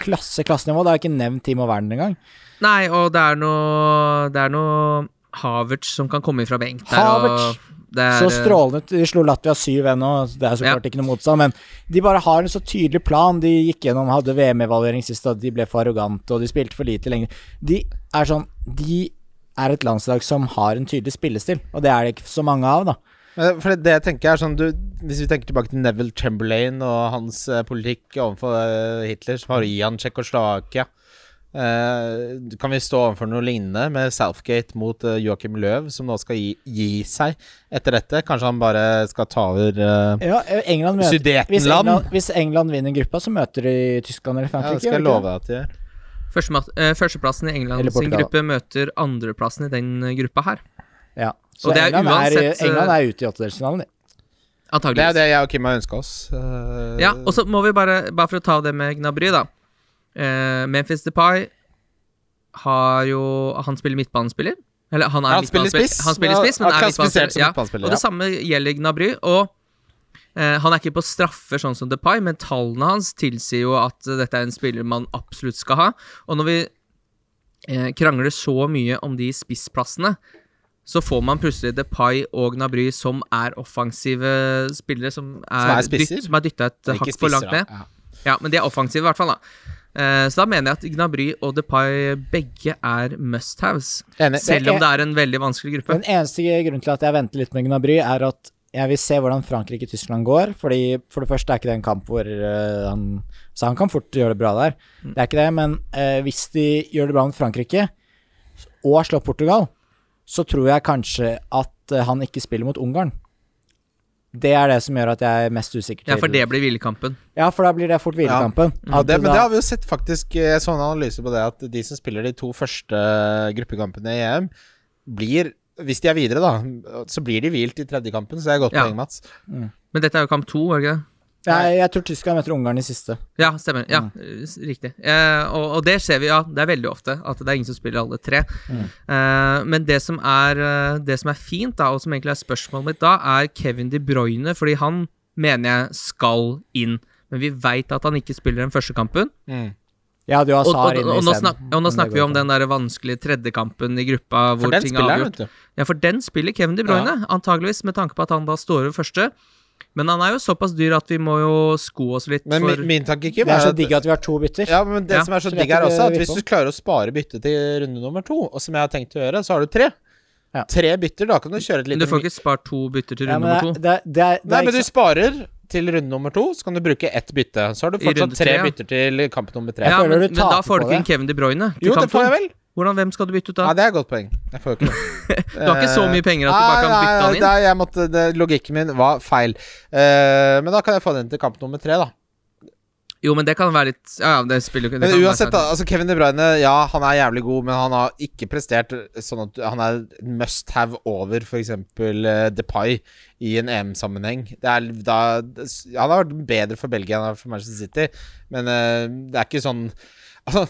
D: klasse, klassenivå. Det har jeg ikke nevnt Timo Werner engang.
B: Nei, og det er noe Det er noe Havertz som kan komme inn fra benk der.
D: Havertz!
B: og det er, eh,
D: Så strålende. ut. De slo Latvia 7 ennå. så Det er så
B: Ja.
D: klart ikke noe motstand, men de bare har en så tydelig plan. De gikk gjennom, hadde VM-evaluering sist, og de ble for arrogante, og de spilte for lite lenge. De er sånn De er et landslag som har en tydelig spillestil, og det er det ikke så mange av, da.
C: Men For det jeg tenker er sånn du, Hvis vi tenker tilbake til Neville Chamberlain og hans eh, politikk overfor eh, Hitler, så var å gi han Tsjekkoslovakia. Eh, kan vi stå overfor noe lignende med Southgate mot eh, Joachim Löw, som nå skal gi, gi seg etter dette? Kanskje han bare skal ta over eh,
D: Ja, England møter hvis
C: Sudetenland?
D: England, hvis England vinner gruppa, så møter de Tyskland eller
C: Ja,
D: Frankrike.
C: det skal
D: gjør
C: jeg
D: de ikke
C: love deg at de gjør.
B: Førstemat- eh, førsteplassen i
D: Eller
B: England sin
D: Portugal.
B: gruppe møter andreplassen i den gruppa her.
D: det? Ja. Så
B: Og det er
D: England,
B: uansett, eh,
D: er, England er ute i åttedelsfinalen, de.
C: Det er
B: Antageligvis.
C: jo det jeg og Kim har ønska oss. eh,
B: Ja, og så må vi bare, bare for å ta det med Gnabry, da. Eh, Memphis Depay har jo Han spiller midtbanespiller. Eller han er
C: Ja, han spiller
B: midtbanespiller.
C: spiss.
B: Han spiller
C: Ja,
B: spiss, men
C: han
B: er
C: er klassifisert
B: midtbanespiller.
C: som
B: Ja.
C: midtbanespiller,
B: Og det
C: ja.
B: samme gjelder Gnabry. Og eh, han er ikke på straffer sånn som Depay, men tallene hans tilsier jo at eh, dette er en spiller man absolutt skal ha. Og når vi eh, krangler så mye om de spissplassene, så får man plutselig Depay og Nabry, som er offensive spillere, som er,
C: er spisser?
B: dytt- som er dytta et
C: Det er ikke
B: hakk for langt
C: spisser,
B: ned.
C: da. Ja.
B: Ja, men de er offensive i hvert fall, da. Eh, Så da mener jeg at Gnabry og Depay begge er must-haves.
C: Enig.
B: Selv om det er en veldig vanskelig
D: Den
B: gruppe.
D: eneste grunnen til at jeg venter litt med Gnabry, er at jeg vil se hvordan Frankrike-Tyskland går. Fordi For det første er ikke det en kamp hvor eh, han Så han kan fort gjøre det bra der. Det er ikke det, men eh, hvis de gjør det bra mot Frankrike, og slår Portugal, så tror jeg kanskje at eh, han ikke spiller mot Ungarn. Det er det som gjør at jeg er mest usikker til
B: Ja, for det blir hvilekampen.
D: Ja, for da blir det fort hvilekampen.
C: Ja,
D: At
C: det, men
D: da-
C: det har vi jo sett faktisk eh, Jeg så en analyse på det at de som spiller de to første gruppekampene i EM, blir Hvis de er videre, da, så blir de hvilt i tredje kampen, så det er godt
B: Ja.
C: poeng, Mats.
B: Men dette er jo kamp to, er det ikke det?
D: Nei, jeg tror Tyskland møter Ungarn i siste.
B: Ja, stemmer. Ja,
C: Mm.
B: s- riktig. Eh, og, og det ser vi, ja. Det er veldig ofte at det er ingen som spiller alle tre.
C: Mm.
B: Eh, men det som, er, eh, det som er fint, da, og som egentlig er spørsmålet mitt da, er Kevin De Bruyne, fordi han mener jeg skal inn. Men vi veit at han ikke spiller den første kampen.
D: Jeg hadde jo
B: Og, og,
D: Hazard
B: og,
D: inne
B: nå,
D: isteden.
B: snak, og nå snakker vi om den der vanskelige tredjekampen i gruppa. Hvor
C: For den
B: ting er
C: spilleren,
B: avgjort.
C: vet du.
B: Ja, for den spiller Kevin De Bruyne, antageligvis med tanke på at han da står over første. Men han er jo såpass dyr at vi må jo sko oss litt
C: Men
B: for
C: min, min tanke, Kim,
D: Det er
C: er
D: så
C: at
D: digg at vi har to bytter.
C: ja, men det
B: Ja,
C: som er
D: så
C: så digg
D: dette
C: her også, at
D: virker
C: hvis du
D: på.
C: klarer å spare byttet til runde nummer to, og som jeg har tenkt å gjøre, så har du tre.
D: Ja.
C: Tre bytter, da kan du kjøre et
B: Men du
C: lite
B: får ikke spart to bytter til
D: Ja,
B: runde
D: men
B: nummer
D: det,
B: to.
D: det, det, det,
C: Nei,
D: er
C: men du
D: ikke så-
C: sparer til runde nummer to, så kan du bruke ett bytte. Så har du
B: I runde
C: fortsatt tre,
B: tre, ja.
C: bytter til kamp nummer tre.
B: Ja,
D: føler
B: men,
D: du
B: men da
D: taper på
B: får du
D: det.
B: ikke inn Kevin De Bruyne. til
C: Jo, det
B: kamp
C: får jeg
B: to.
C: vel.
B: Hvordan, hvem skal du bytte ut da?
C: Ja, det er et godt poeng. Jeg får jo ikke det.
B: Du har
C: eh,
B: ikke så mye penger at du bare kan bytte han inn.
C: Nei, jeg måtte, det, logikken min var feil. Eh, men da kan jeg få den til kamp nummer tre, da.
B: Jo, men det kan være litt Ja, ja, det spiller jo ikke det
C: Men
B: kan være
C: uansett,
B: sant.
C: da. Altså Kevin De Bruyne, ja, han er jævlig god, men han har ikke prestert sånn at han er must have over f.eks. Uh, DePay i en EM-sammenheng. Det er da Han har vært bedre for Belgia enn han er for Manchester City, men eh, det er ikke sånn Altså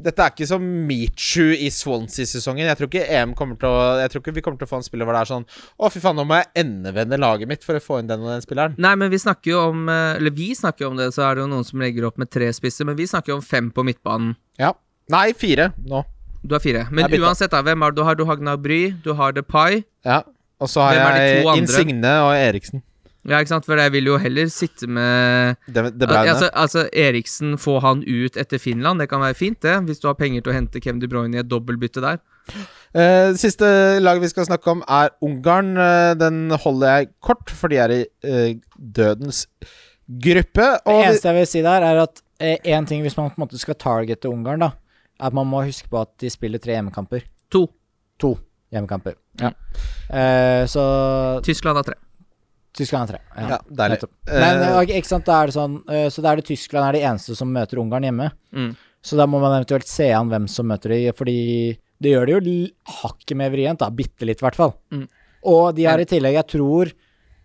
C: dette er ikke som Michu i Swansea-sesongen. Jeg tror ikke EM kommer til å Jeg tror ikke vi kommer til å få en spiller hvor det er sånn Å, fy faen, nå må jeg endevende laget mitt for å få inn den og den spilleren.
B: Nei, men vi snakker jo om eh, Eller vi snakker jo om det, så er det jo noen som legger opp med tre spisser, men vi snakker jo om fem på midtbanen.
C: Ja. Nei, fire nå.
B: Du har fire. Men
C: Jeg bytter.
B: uansett, da, hvem er det du har? Du har Gnabry, du har Depay.
C: Ja. Og så har
B: Hvem er de
C: jeg
B: to andre?
C: Insigne og Eriksen.
B: Ja, ikke sant? For jeg vil jo heller sitte med
C: Det, det ble
B: altså, altså, Eriksen, få han ut etter Finland, det kan være fint, det. Hvis du har penger til å hente Kevin De Bruyne i et dobbeltbytte der.
C: Eh, siste lag vi skal snakke om, er Ungarn. Eh, Den holder jeg kort, for de er i eh, dødens gruppe.
D: Det
C: Og vi-
D: eneste jeg vil si der, er at én ting hvis man på en måte skal targete Ungarn, da, er at man må huske på at de spiller tre hjemmekamper.
B: To.
D: To hjemmekamper.
C: Ja.
D: Eh, så
B: Tyskland har tre.
D: Tyskland er tre.
C: ja, deilig.
D: nettopp.
C: Eh,
D: Men eh, ok, ikke sant, da er det sånn eh, Så da er det Tyskland er de eneste som møter Ungarn hjemme.
B: Mm.
D: Så da må man eventuelt se an hvem som møter de, fordi det gjør det jo l- hakket mer vrient, da. Bitte litt, i hvert fall.
B: Mm.
D: Og de har i tillegg, jeg tror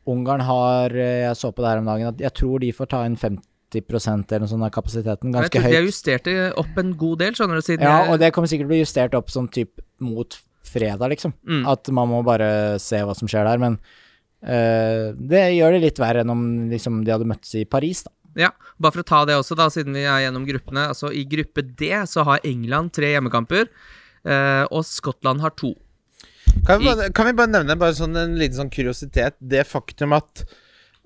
D: Ungarn har eh, Jeg så på det her om dagen, at jeg tror de får ta inn 50 eller noe sånt av kapasiteten.
B: Men jeg
D: Ganske
B: tror de har
D: høyt.
B: justert det opp en god del, skjønner du, siden
D: Ja,
B: jeg-
D: og det kommer sikkert til å bli justert opp sånn typ mot fredag, liksom.
B: Mm.
D: At man må bare se hva som skjer der, men eh, det gjør det litt verre enn om liksom, de hadde møttes i Paris, da.
B: Ja, bare for å ta det også, da, siden vi er gjennom gruppene. Altså, I gruppe D så har England tre hjemmekamper, eh, og Skottland har to.
C: kan, vi bare, kan vi bare nevne bare sånn, en liten sånn kuriositet? Det faktum at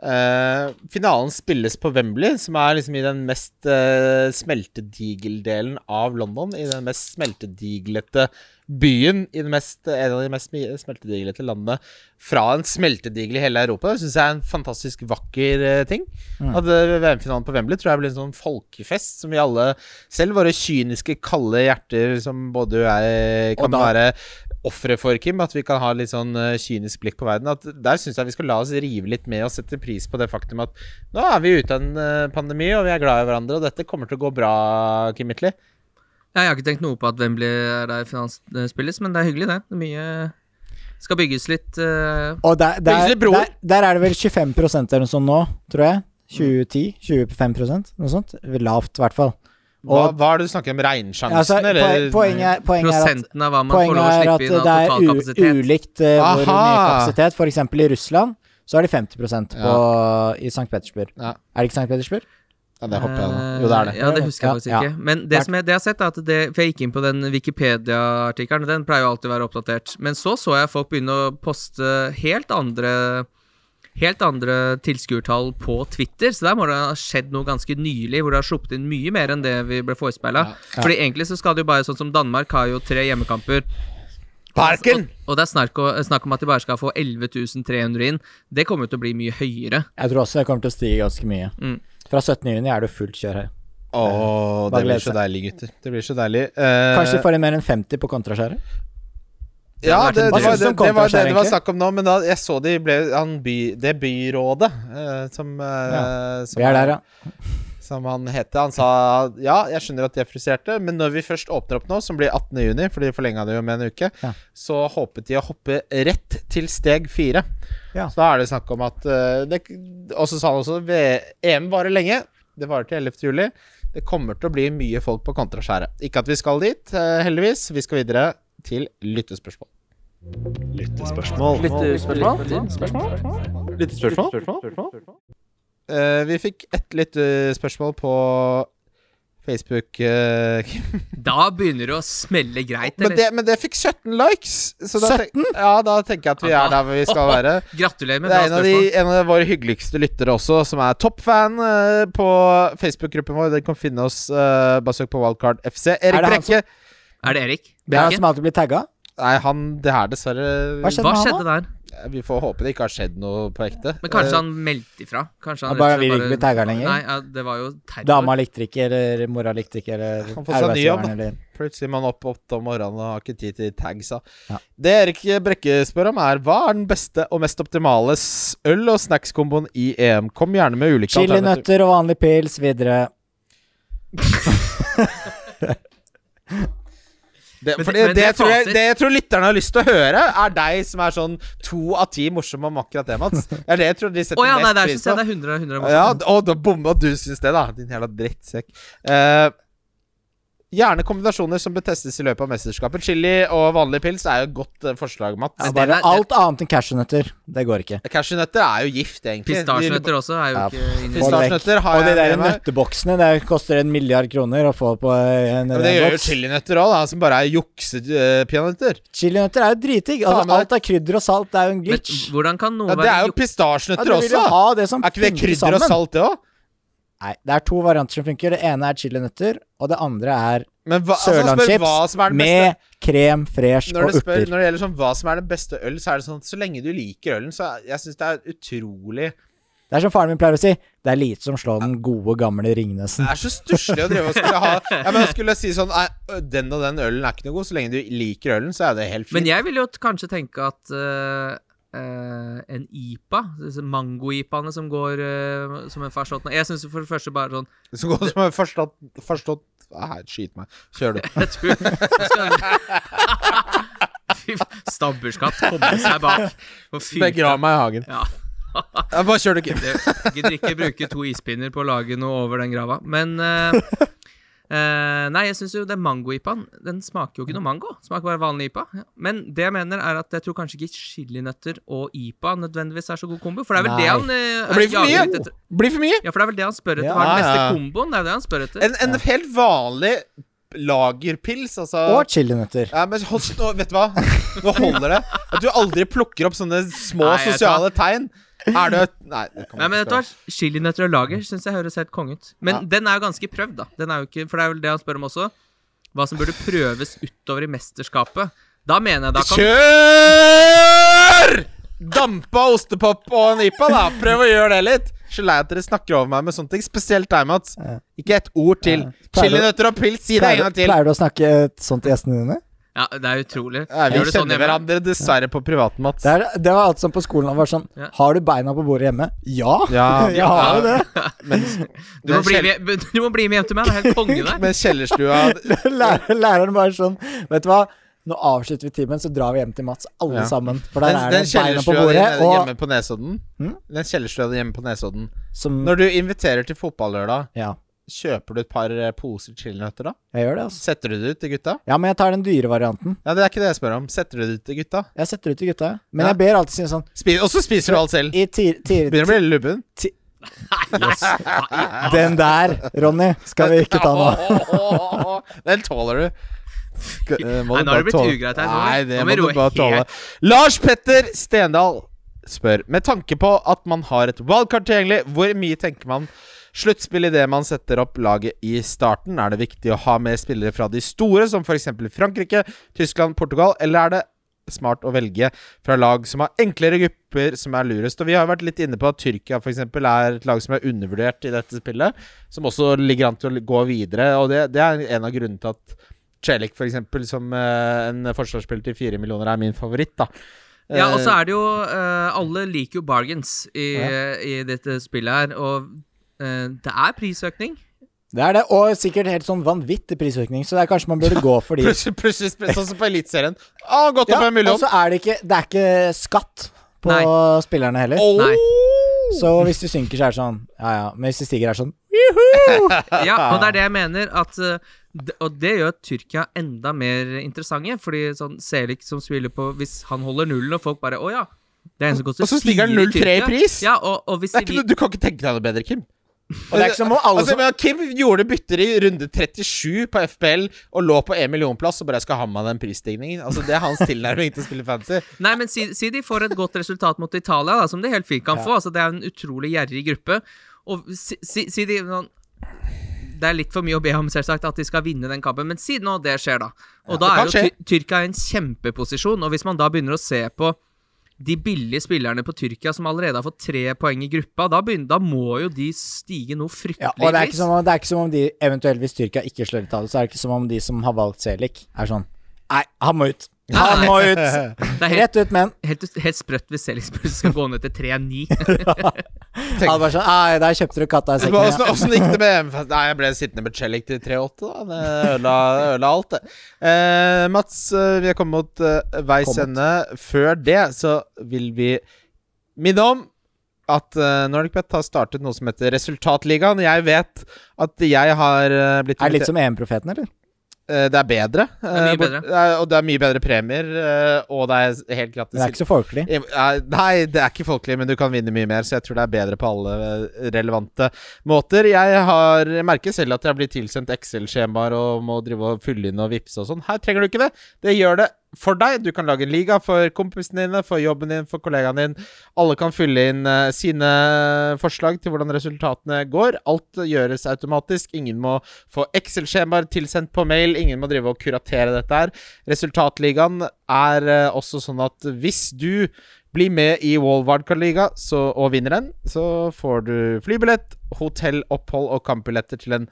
C: eh, finalen spilles på Wembley, som er liksom i den mest eh, smeltedigel-delen av London. I den mest smeltediglete byen i den mest, en av de mest mi- smeltediglete landene fra en smeltedigel i hele Europa. Det syns jeg er en fantastisk vakker eh, ting. At eh, VM-finalen på Wembley tror jeg blir en sånn folkefest som vi alle, selv våre kyniske, kalde hjerter som både du og jeg kan være ofre for, Kim, at vi kan ha litt sånn eh, kynisk blikk på verden. At der syns jeg vi skal la oss rive litt med og sette pris på det faktum at nå er vi ute av en eh, pandemi, og vi er glad i hverandre, og dette kommer til å gå bra, Kim Mitli.
B: Ja, jeg har ikke tenkt noe på at Wembley er der finans eh, spilles, men det er hyggelig, det. det er mye skal bygges litt eh,
D: Og der, der,
C: Plutselig broren.
D: der, der er det vel 25 eller noe sånt nå, tror jeg. 2010-25 noe sånt. Lavt, i hvert fall.
C: Hva,
D: Og-
C: hva er det du snakker om? Regnsjansen,
D: Altså, poe-
C: eller?
D: poenget, er- poenget er at
B: prosenten av hva man får lov å
D: Poenget er at
B: slippe inn av
D: det er
B: totalkapasitet.
D: u ulikt eh, hvor mye
C: Aha.
D: kapasitet. For eksempel i Russland så er de 50 på, i St. Petersburg.
C: Ja.
D: Er det ikke St. Petersburg?
C: Ja, det hopper jeg nå. Jo, det er det.
B: Ja, det husker jeg faktisk
D: Ja, ja.
B: ikke. Men det som jeg, det jeg har sett, er at det For jeg gikk inn på den Wikipedia-artikkelen, den pleier jo alltid å være oppdatert. Men så så jeg folk begynne å poste helt andre Helt andre tilskuertall på Twitter, så der må det ha skjedd noe ganske nylig hvor det har sluppet inn mye mer enn det vi ble forespeila. Fordi egentlig så skal det jo bare sånn som Danmark har jo tre hjemmekamper.
C: Eh, Parken!
B: Og det er snakk om, snakk om at de bare skal få 11.300 inn. Det kommer jo til å bli mye høyere.
D: Jeg tror også det kommer til å stige ganske mye.
B: Mm. Eh,
D: Fra 17. juni er det fullt kjør her.
C: Å,
D: Bare
C: det blir
D: glede
C: så
D: seg.
C: deilig, gutter. Det blir så deilig. Eh,
D: Kanskje de får inn mer enn 50 på kontraskjæret?
C: Ja,
B: Det
C: det, det,
B: hadde vært en
C: var,
D: drøm.
C: det, det, var, det, det var
D: Egentlig.
C: snakk om nå, men da, jeg så de ble han by, Det byrådet eh, som, eh, som,
D: Vi er der, ja.
C: som han heter. Han sa ja, jeg skjønner at de er frustrerte, men når vi først åpner opp nå, som blir 18. juni, for de forlenga det jo med en uke,
D: Ja.
C: så håpet de å hoppe rett til steg fire.
D: Ja.
C: Så da er det snakk om at eh, det, Og så sa han også at EM varer lenge. Det varer til 11. juli. Det kommer til å bli mye folk på kontraskjæret. Ikke at vi skal dit, eh, heldigvis. Vi skal videre til lyttespørsmål. Lyttespørsmål. Eh, vi fikk ett lyttespørsmål på Facebook, eh, Kim.
B: Da begynner det å smelle greit,
C: Men
B: eller?
C: det, men det fikk 17 likes. Så da 17? Tenk, ja, da tenker jeg at vi
B: Ja,
C: er der vi skal være.
B: Gratulerer med
C: Det
B: bra
C: er en av,
B: spørsmål.
C: de, en av våre hyggeligste lyttere også, som er toppfan eh, på Facebook-gruppen vår. Dere kan finne oss eh, bare søk på Wildcard FC.
D: Er
C: Erik
D: det han
C: Brekke.
B: Er det Erik?
D: Det er han
B: Brekke?
D: som alltid blir tagga.
C: Nei, han Det er dessverre
D: Hva skjedde
B: Hva
D: med han
B: skjedde
D: da?
B: der?
C: Vi får håpe det ikke har skjedd noe på ekte.
B: Men kanskje
C: Eh,
B: han meldte ifra? Kanskje han
D: Han bare
B: rett og slett
D: vil ikke bli tagget lenger.
B: Nei, ja, det var jo terror.
D: Dama likte ikke, eller mora likte ikke, eller
C: Han får seg ny jobb, da.
D: arbeidsgiveren, eller
C: Plutselig er man opp åtte om morgenen og har ikke tid til tagsa.
D: Ja.
C: Det Erik Brekke spør om, er hva er den beste og mest optimale s- øl- og snackskomboen i EM? Kom gjerne med ulike alternativer.
D: Chilinøtter og vanlig pils videre.
C: Det,
B: Men
C: for
B: det-
C: det, det,
B: men det er
C: jeg tror jeg,
B: fasit.
C: det jeg tror lytterne har lyst til å høre, er deg som er sånn to av ti morsom om akkurat det, Mats. Det er det jeg tror de
B: Å
C: setter
B: ja, nei,
C: mest
B: der
C: pris
B: syns jeg
C: på.
B: det er 100 av 100 av
C: Ja, d- og da bomma du syns det, da. Din jævla drittsekk. Eh, gjerne kombinasjoner som bør testes i løpet av mesterskapet. Chili og vanlig pils er jo et godt eh, forslag, Mats.
D: Ja,
B: Men den
D: bare
B: er-
D: alt annet enn cashewnøtter. Det går ikke.
C: Cashewnøtter er jo gift, egentlig.
B: Pistasjenøtter også er jo
D: Ja,
B: ikke
D: få
B: inne.
D: det vekk.
C: Pistasjenøtter har
D: Og de
C: jeg
D: der
C: med meg.
D: nøtteboksene, det koster en milliard kroner å få på en
C: Ja,
D: en
C: men det gjør jo
D: boks.
C: chilinøtter òg, som bare er eh, juksepeanøtter.
D: Chilinøtter er jo dritdigg.
C: Ta med
D: Altså, alt av krydder og salt er jo en
B: Men
D: glitch.
B: hvordan kan noe
C: Ja, det er
B: være
C: jo
B: juk-
D: Ja,
C: pistasjenøtter
D: du vil jo
C: også.
D: ha det som
C: Er ikke det
D: funker
C: krydder og
D: sammen.
C: salt, det òg?
D: Nei, det er to varianter som funker. Det ene er chilinøtter, og det andre er
C: Men hva, altså, han spør hva
D: sørlandschips
C: som er den beste
D: med krem fresh
C: når
D: og
C: det, spør,
D: urter.
C: når det gjelder sånn hva som er den beste øl, så er det sånn at så lenge du liker ølen, så er- jeg syns det er utrolig
D: Det er som faren min pleier å si, det er lite som slår den gode, gamle Ringnesen.
C: Det er så stusslig å drive og skulle ha ja, men jeg skulle si sånn nei, ø, Den og den ølen er ikke noe god. Så lenge du liker ølen, så er det helt
B: Men
C: fint.
B: jeg vil jo t- kanskje tenke at eh, eh, en IPA, disse mango-IPAene som går eh, som en farsott Jeg syns for det første bare sånn
C: Så godt som jeg har forstått, forstått Nei, skyt meg. Kjør du.
B: Jeg tror jeg skal- Fy faen. Stabburskatt kommer seg bak. Og fy-
C: Begrav meg i hagen.
B: Ja.
C: Ja, Bare kjør du, Kim.
B: Det, gidder ikke bruke to ispinner på å lage noe over den grava. Men eh, eh, Nei, jeg syns jo den mango-ipaen, den smaker jo ikke noe mango. Smaker bare vanlig ipa. Ja. Men det jeg mener, er at jeg tror kanskje ikke chilinøtter og ipa nødvendigvis er så god kombo. For det er vel
D: Nei.
B: det han eh,
C: Det blir for
B: jager
C: mye.
B: litt etter.
C: Blir for mye.
B: Ja, for det er vel det han spør etter.
D: Ja,
B: Hva er den
C: ja,
B: beste
C: ja.
B: komboen? Det er jo det han spør etter.
C: En, en helt vanlig lagerpils, altså.
D: Og chilinøtter.
C: ja, men hold, nå, vet du hva? Nå holder det. At du aldri plukker opp sånne små
B: Nei, jeg
C: sosiale tegn. Er du Nei, det kommer
B: Nei,
C: ikke
B: men vet du
C: til å-
B: hva? Chilinøtter og lager syns jeg høres helt konge ut. Men den er jo ganske prøvd, da. Den er jo ikke, for det er vel det han spør om også. Hva som burde prøves utover i mesterskapet. Da mener jeg da kan
C: Kjør! Dampa ostepop og en IPA, da. Prøv å gjøre det litt. Så lei at dere snakker over meg med sånne ting. Spesielt deg, Mats. Ikke et ord til.
D: Pleier du-
C: Chilinøtter og pils, si det en
D: Pleier,
C: gang til.
D: pleier du å snakke sånn til gjestene dine?
B: Ja, det er utrolig.
C: Nei, vi
B: Gjør det sånn
C: kjenner
B: hjemme.
C: hverandre dessverre på privaten, Mats.
D: Det, er, det var alt som på skolen var sånn
B: Ja.
D: Har du beina på bordet hjemme? Ja!
C: Ja.
D: jeg har jo det.
B: Du må,
C: Men
B: bli
C: Kjell-
B: med, du må bli med hjem til meg, det er helt konge der.
C: Men kjellerstua
D: Lærer, læreren bare sånn Vet du hva, nå avslutter vi timen, så drar vi hjem til Mats, alle
C: Ja.
D: sammen. For der
C: Den,
D: er det
C: den
D: beina på
C: kjellerstua di
D: bordet, og
C: nede-
D: Hmm?
C: hjemme på Nesodden Den kjellerstua di hjemme på Nesodden
D: som
C: Når du inviterer til fotballørdag,
D: Ja,
C: kjøper du et par eh, poser chilinøtter da?
D: jeg gjør det, altså.
C: Setter du det ut til gutta?
D: Ja, men jeg tar den dyre varianten.
C: Ja, det er ikke det jeg spør om. Setter du det ut til gutta?
D: Jeg setter ut til gutta. Men
C: Ja.
D: jeg ber alltid si sånn
C: Spi- og så spiser du alt selv.
D: I ti- ti-
C: Begynner å bli lubben.
D: Den der, Ronny, skal vi ikke ta nå.
C: nå. Den tåler du. Sk- eh, må
B: Nei,
C: du bare
B: nå har det blitt
C: tåle.
B: ugreit her. Nå må-
C: Nei, det
B: nå må
C: må
B: vi
C: du
B: roe
C: bare tåle.
B: helt.
C: Lars Petter Stendal spør Med tanke på at man har et wildcard tilgjengelig, hvor mye tenker man sluttspill idet man setter opp laget i starten? Er det viktig å ha med spillere fra de store, som f.eks. Frankrike, Tyskland, Portugal, eller er det smart å velge fra lag som har enklere grupper som er lurest. Og vi har jo vært litt inne på at Tyrkia for eksempel er et lag som er undervurdert i dette spillet, som også ligger an til å gå videre. Og det, det er en av grunnene til at Celik, for eksempel, som eh, en forsvarsspiller til fire millioner, er min favoritt, da.
B: Ja, og så er det jo eh, Alle liker jo bargains i, i dette spillet her, og eh, det er prisøkning.
D: Det er det, og sikkert helt sånn vanvittig prisøkning, så det er kanskje man burde gå for de.
C: Plutselig, plutselig sp- sånn som på Eliteserien. Ah, gått
D: Ja,
C: opp en
D: og
C: million!
D: så er det ikke Det er ikke skatt på
B: Nei.
D: spillerne heller.
C: Åh!
B: Nei.
D: Så hvis du synker, så er det sånn Ja ja. Men hvis du stiger, er det sånn
B: Ja, og det er det jeg mener. At, eh, d- og det gjør Tyrkia enda mer interessante. Fordi sånn Selik som spiller på Hvis han holder nullen, og folk bare Å ja. Det er en som koster
C: Og så stiger han 0,3
B: fire
C: i
B: Tyrkia."
C: pris.
B: Ja, og, og hvis
C: Det er ikke
B: vi-
C: noe, du kan ikke tenke deg noe bedre, Kim.
D: Og det er ikke som om alle
C: altså,
D: som-
C: men Kim gjorde bytter i runde 37 på FPL og lå på 1 millionplass og bare skal ha med den prisstigningen. Altså, det er hans tilnærming til å spille fancy.
B: Nei, men si, si de får et godt resultat mot Italia, da, som de helt fint kan få. Altså, det er en utrolig gjerrig gruppe. Og si, si, si de sånn Det er litt for mye å be om, selvsagt, at de skal vinne den kampen, men si nå det skjer, da. Og
C: det
B: da er
C: kan
B: jo ty Tyrkia i en kjempeposisjon, og hvis man da begynner å se på de billige spillerne på Tyrkia som allerede har fått tre poeng i gruppa, da, begynner, da må jo de stige noe fryktelig
D: ja, Og det er,
B: pris.
D: ikke sånn- som om, det er ikke som om de eventuelt Hvis Tyrkia ikke slår ut av det, så er det ikke som om de som har valgt Selik, er sånn Nei, han må ut. Han må ut.
B: Det er helt,
D: Rett ut med han.
B: helt, helt sprøtt hvis Seligsburg skal gå ned til 3-9.
D: Han bare sånn Nei, der kjøpte du katta i sekken.
C: Åssen
D: Ja.
C: åssen gikk det med EM? Nei, jeg ble sittende med Cellic til 3-8, da. Det ødela, ødela alt, det. Eh, Mats, eh, vi er kommet mot eh, veis
D: Kommet.
C: ende. Før det så vil vi minne om at uh, NordicBet har startet noe som heter Resultatligaen. Jeg vet at jeg har eh, blitt
D: Er det
C: invitert-
D: litt som EM-profeten, eller?
C: Eh, Det er bedre.
B: er mye
C: eh, bort-
B: bedre.
C: det er- Og det er mye bedre premier, eh, og det er helt gratis.
D: Det er ikke så folkelig.
C: Eh, Nei, det er ikke folkelig, men du kan vinne mye mer, så jeg tror det er bedre på alle eh, relevante måter. Jeg har jeg merker selv at jeg blir tilsendt Excel-skjemaer og må drive og fylle inn og vippse og sånn. Her trenger du ikke det. Det gjør det for deg. Du kan lage en liga for kompisene dine, for jobben din, for kollegaen din. Alle kan fylle inn eh, sine eh, forslag til hvordan resultatene går. Alt gjøres automatisk. Ingen må få Excel-skjemaer tilsendt på mail. Ingen må drive og kuratere dette her. Resultatligaen er eh, også sånn at hvis du blir med i Wallwardcard-liga så- og vinner den, så får du flybillett, hotell, opphold og kampbilletter til en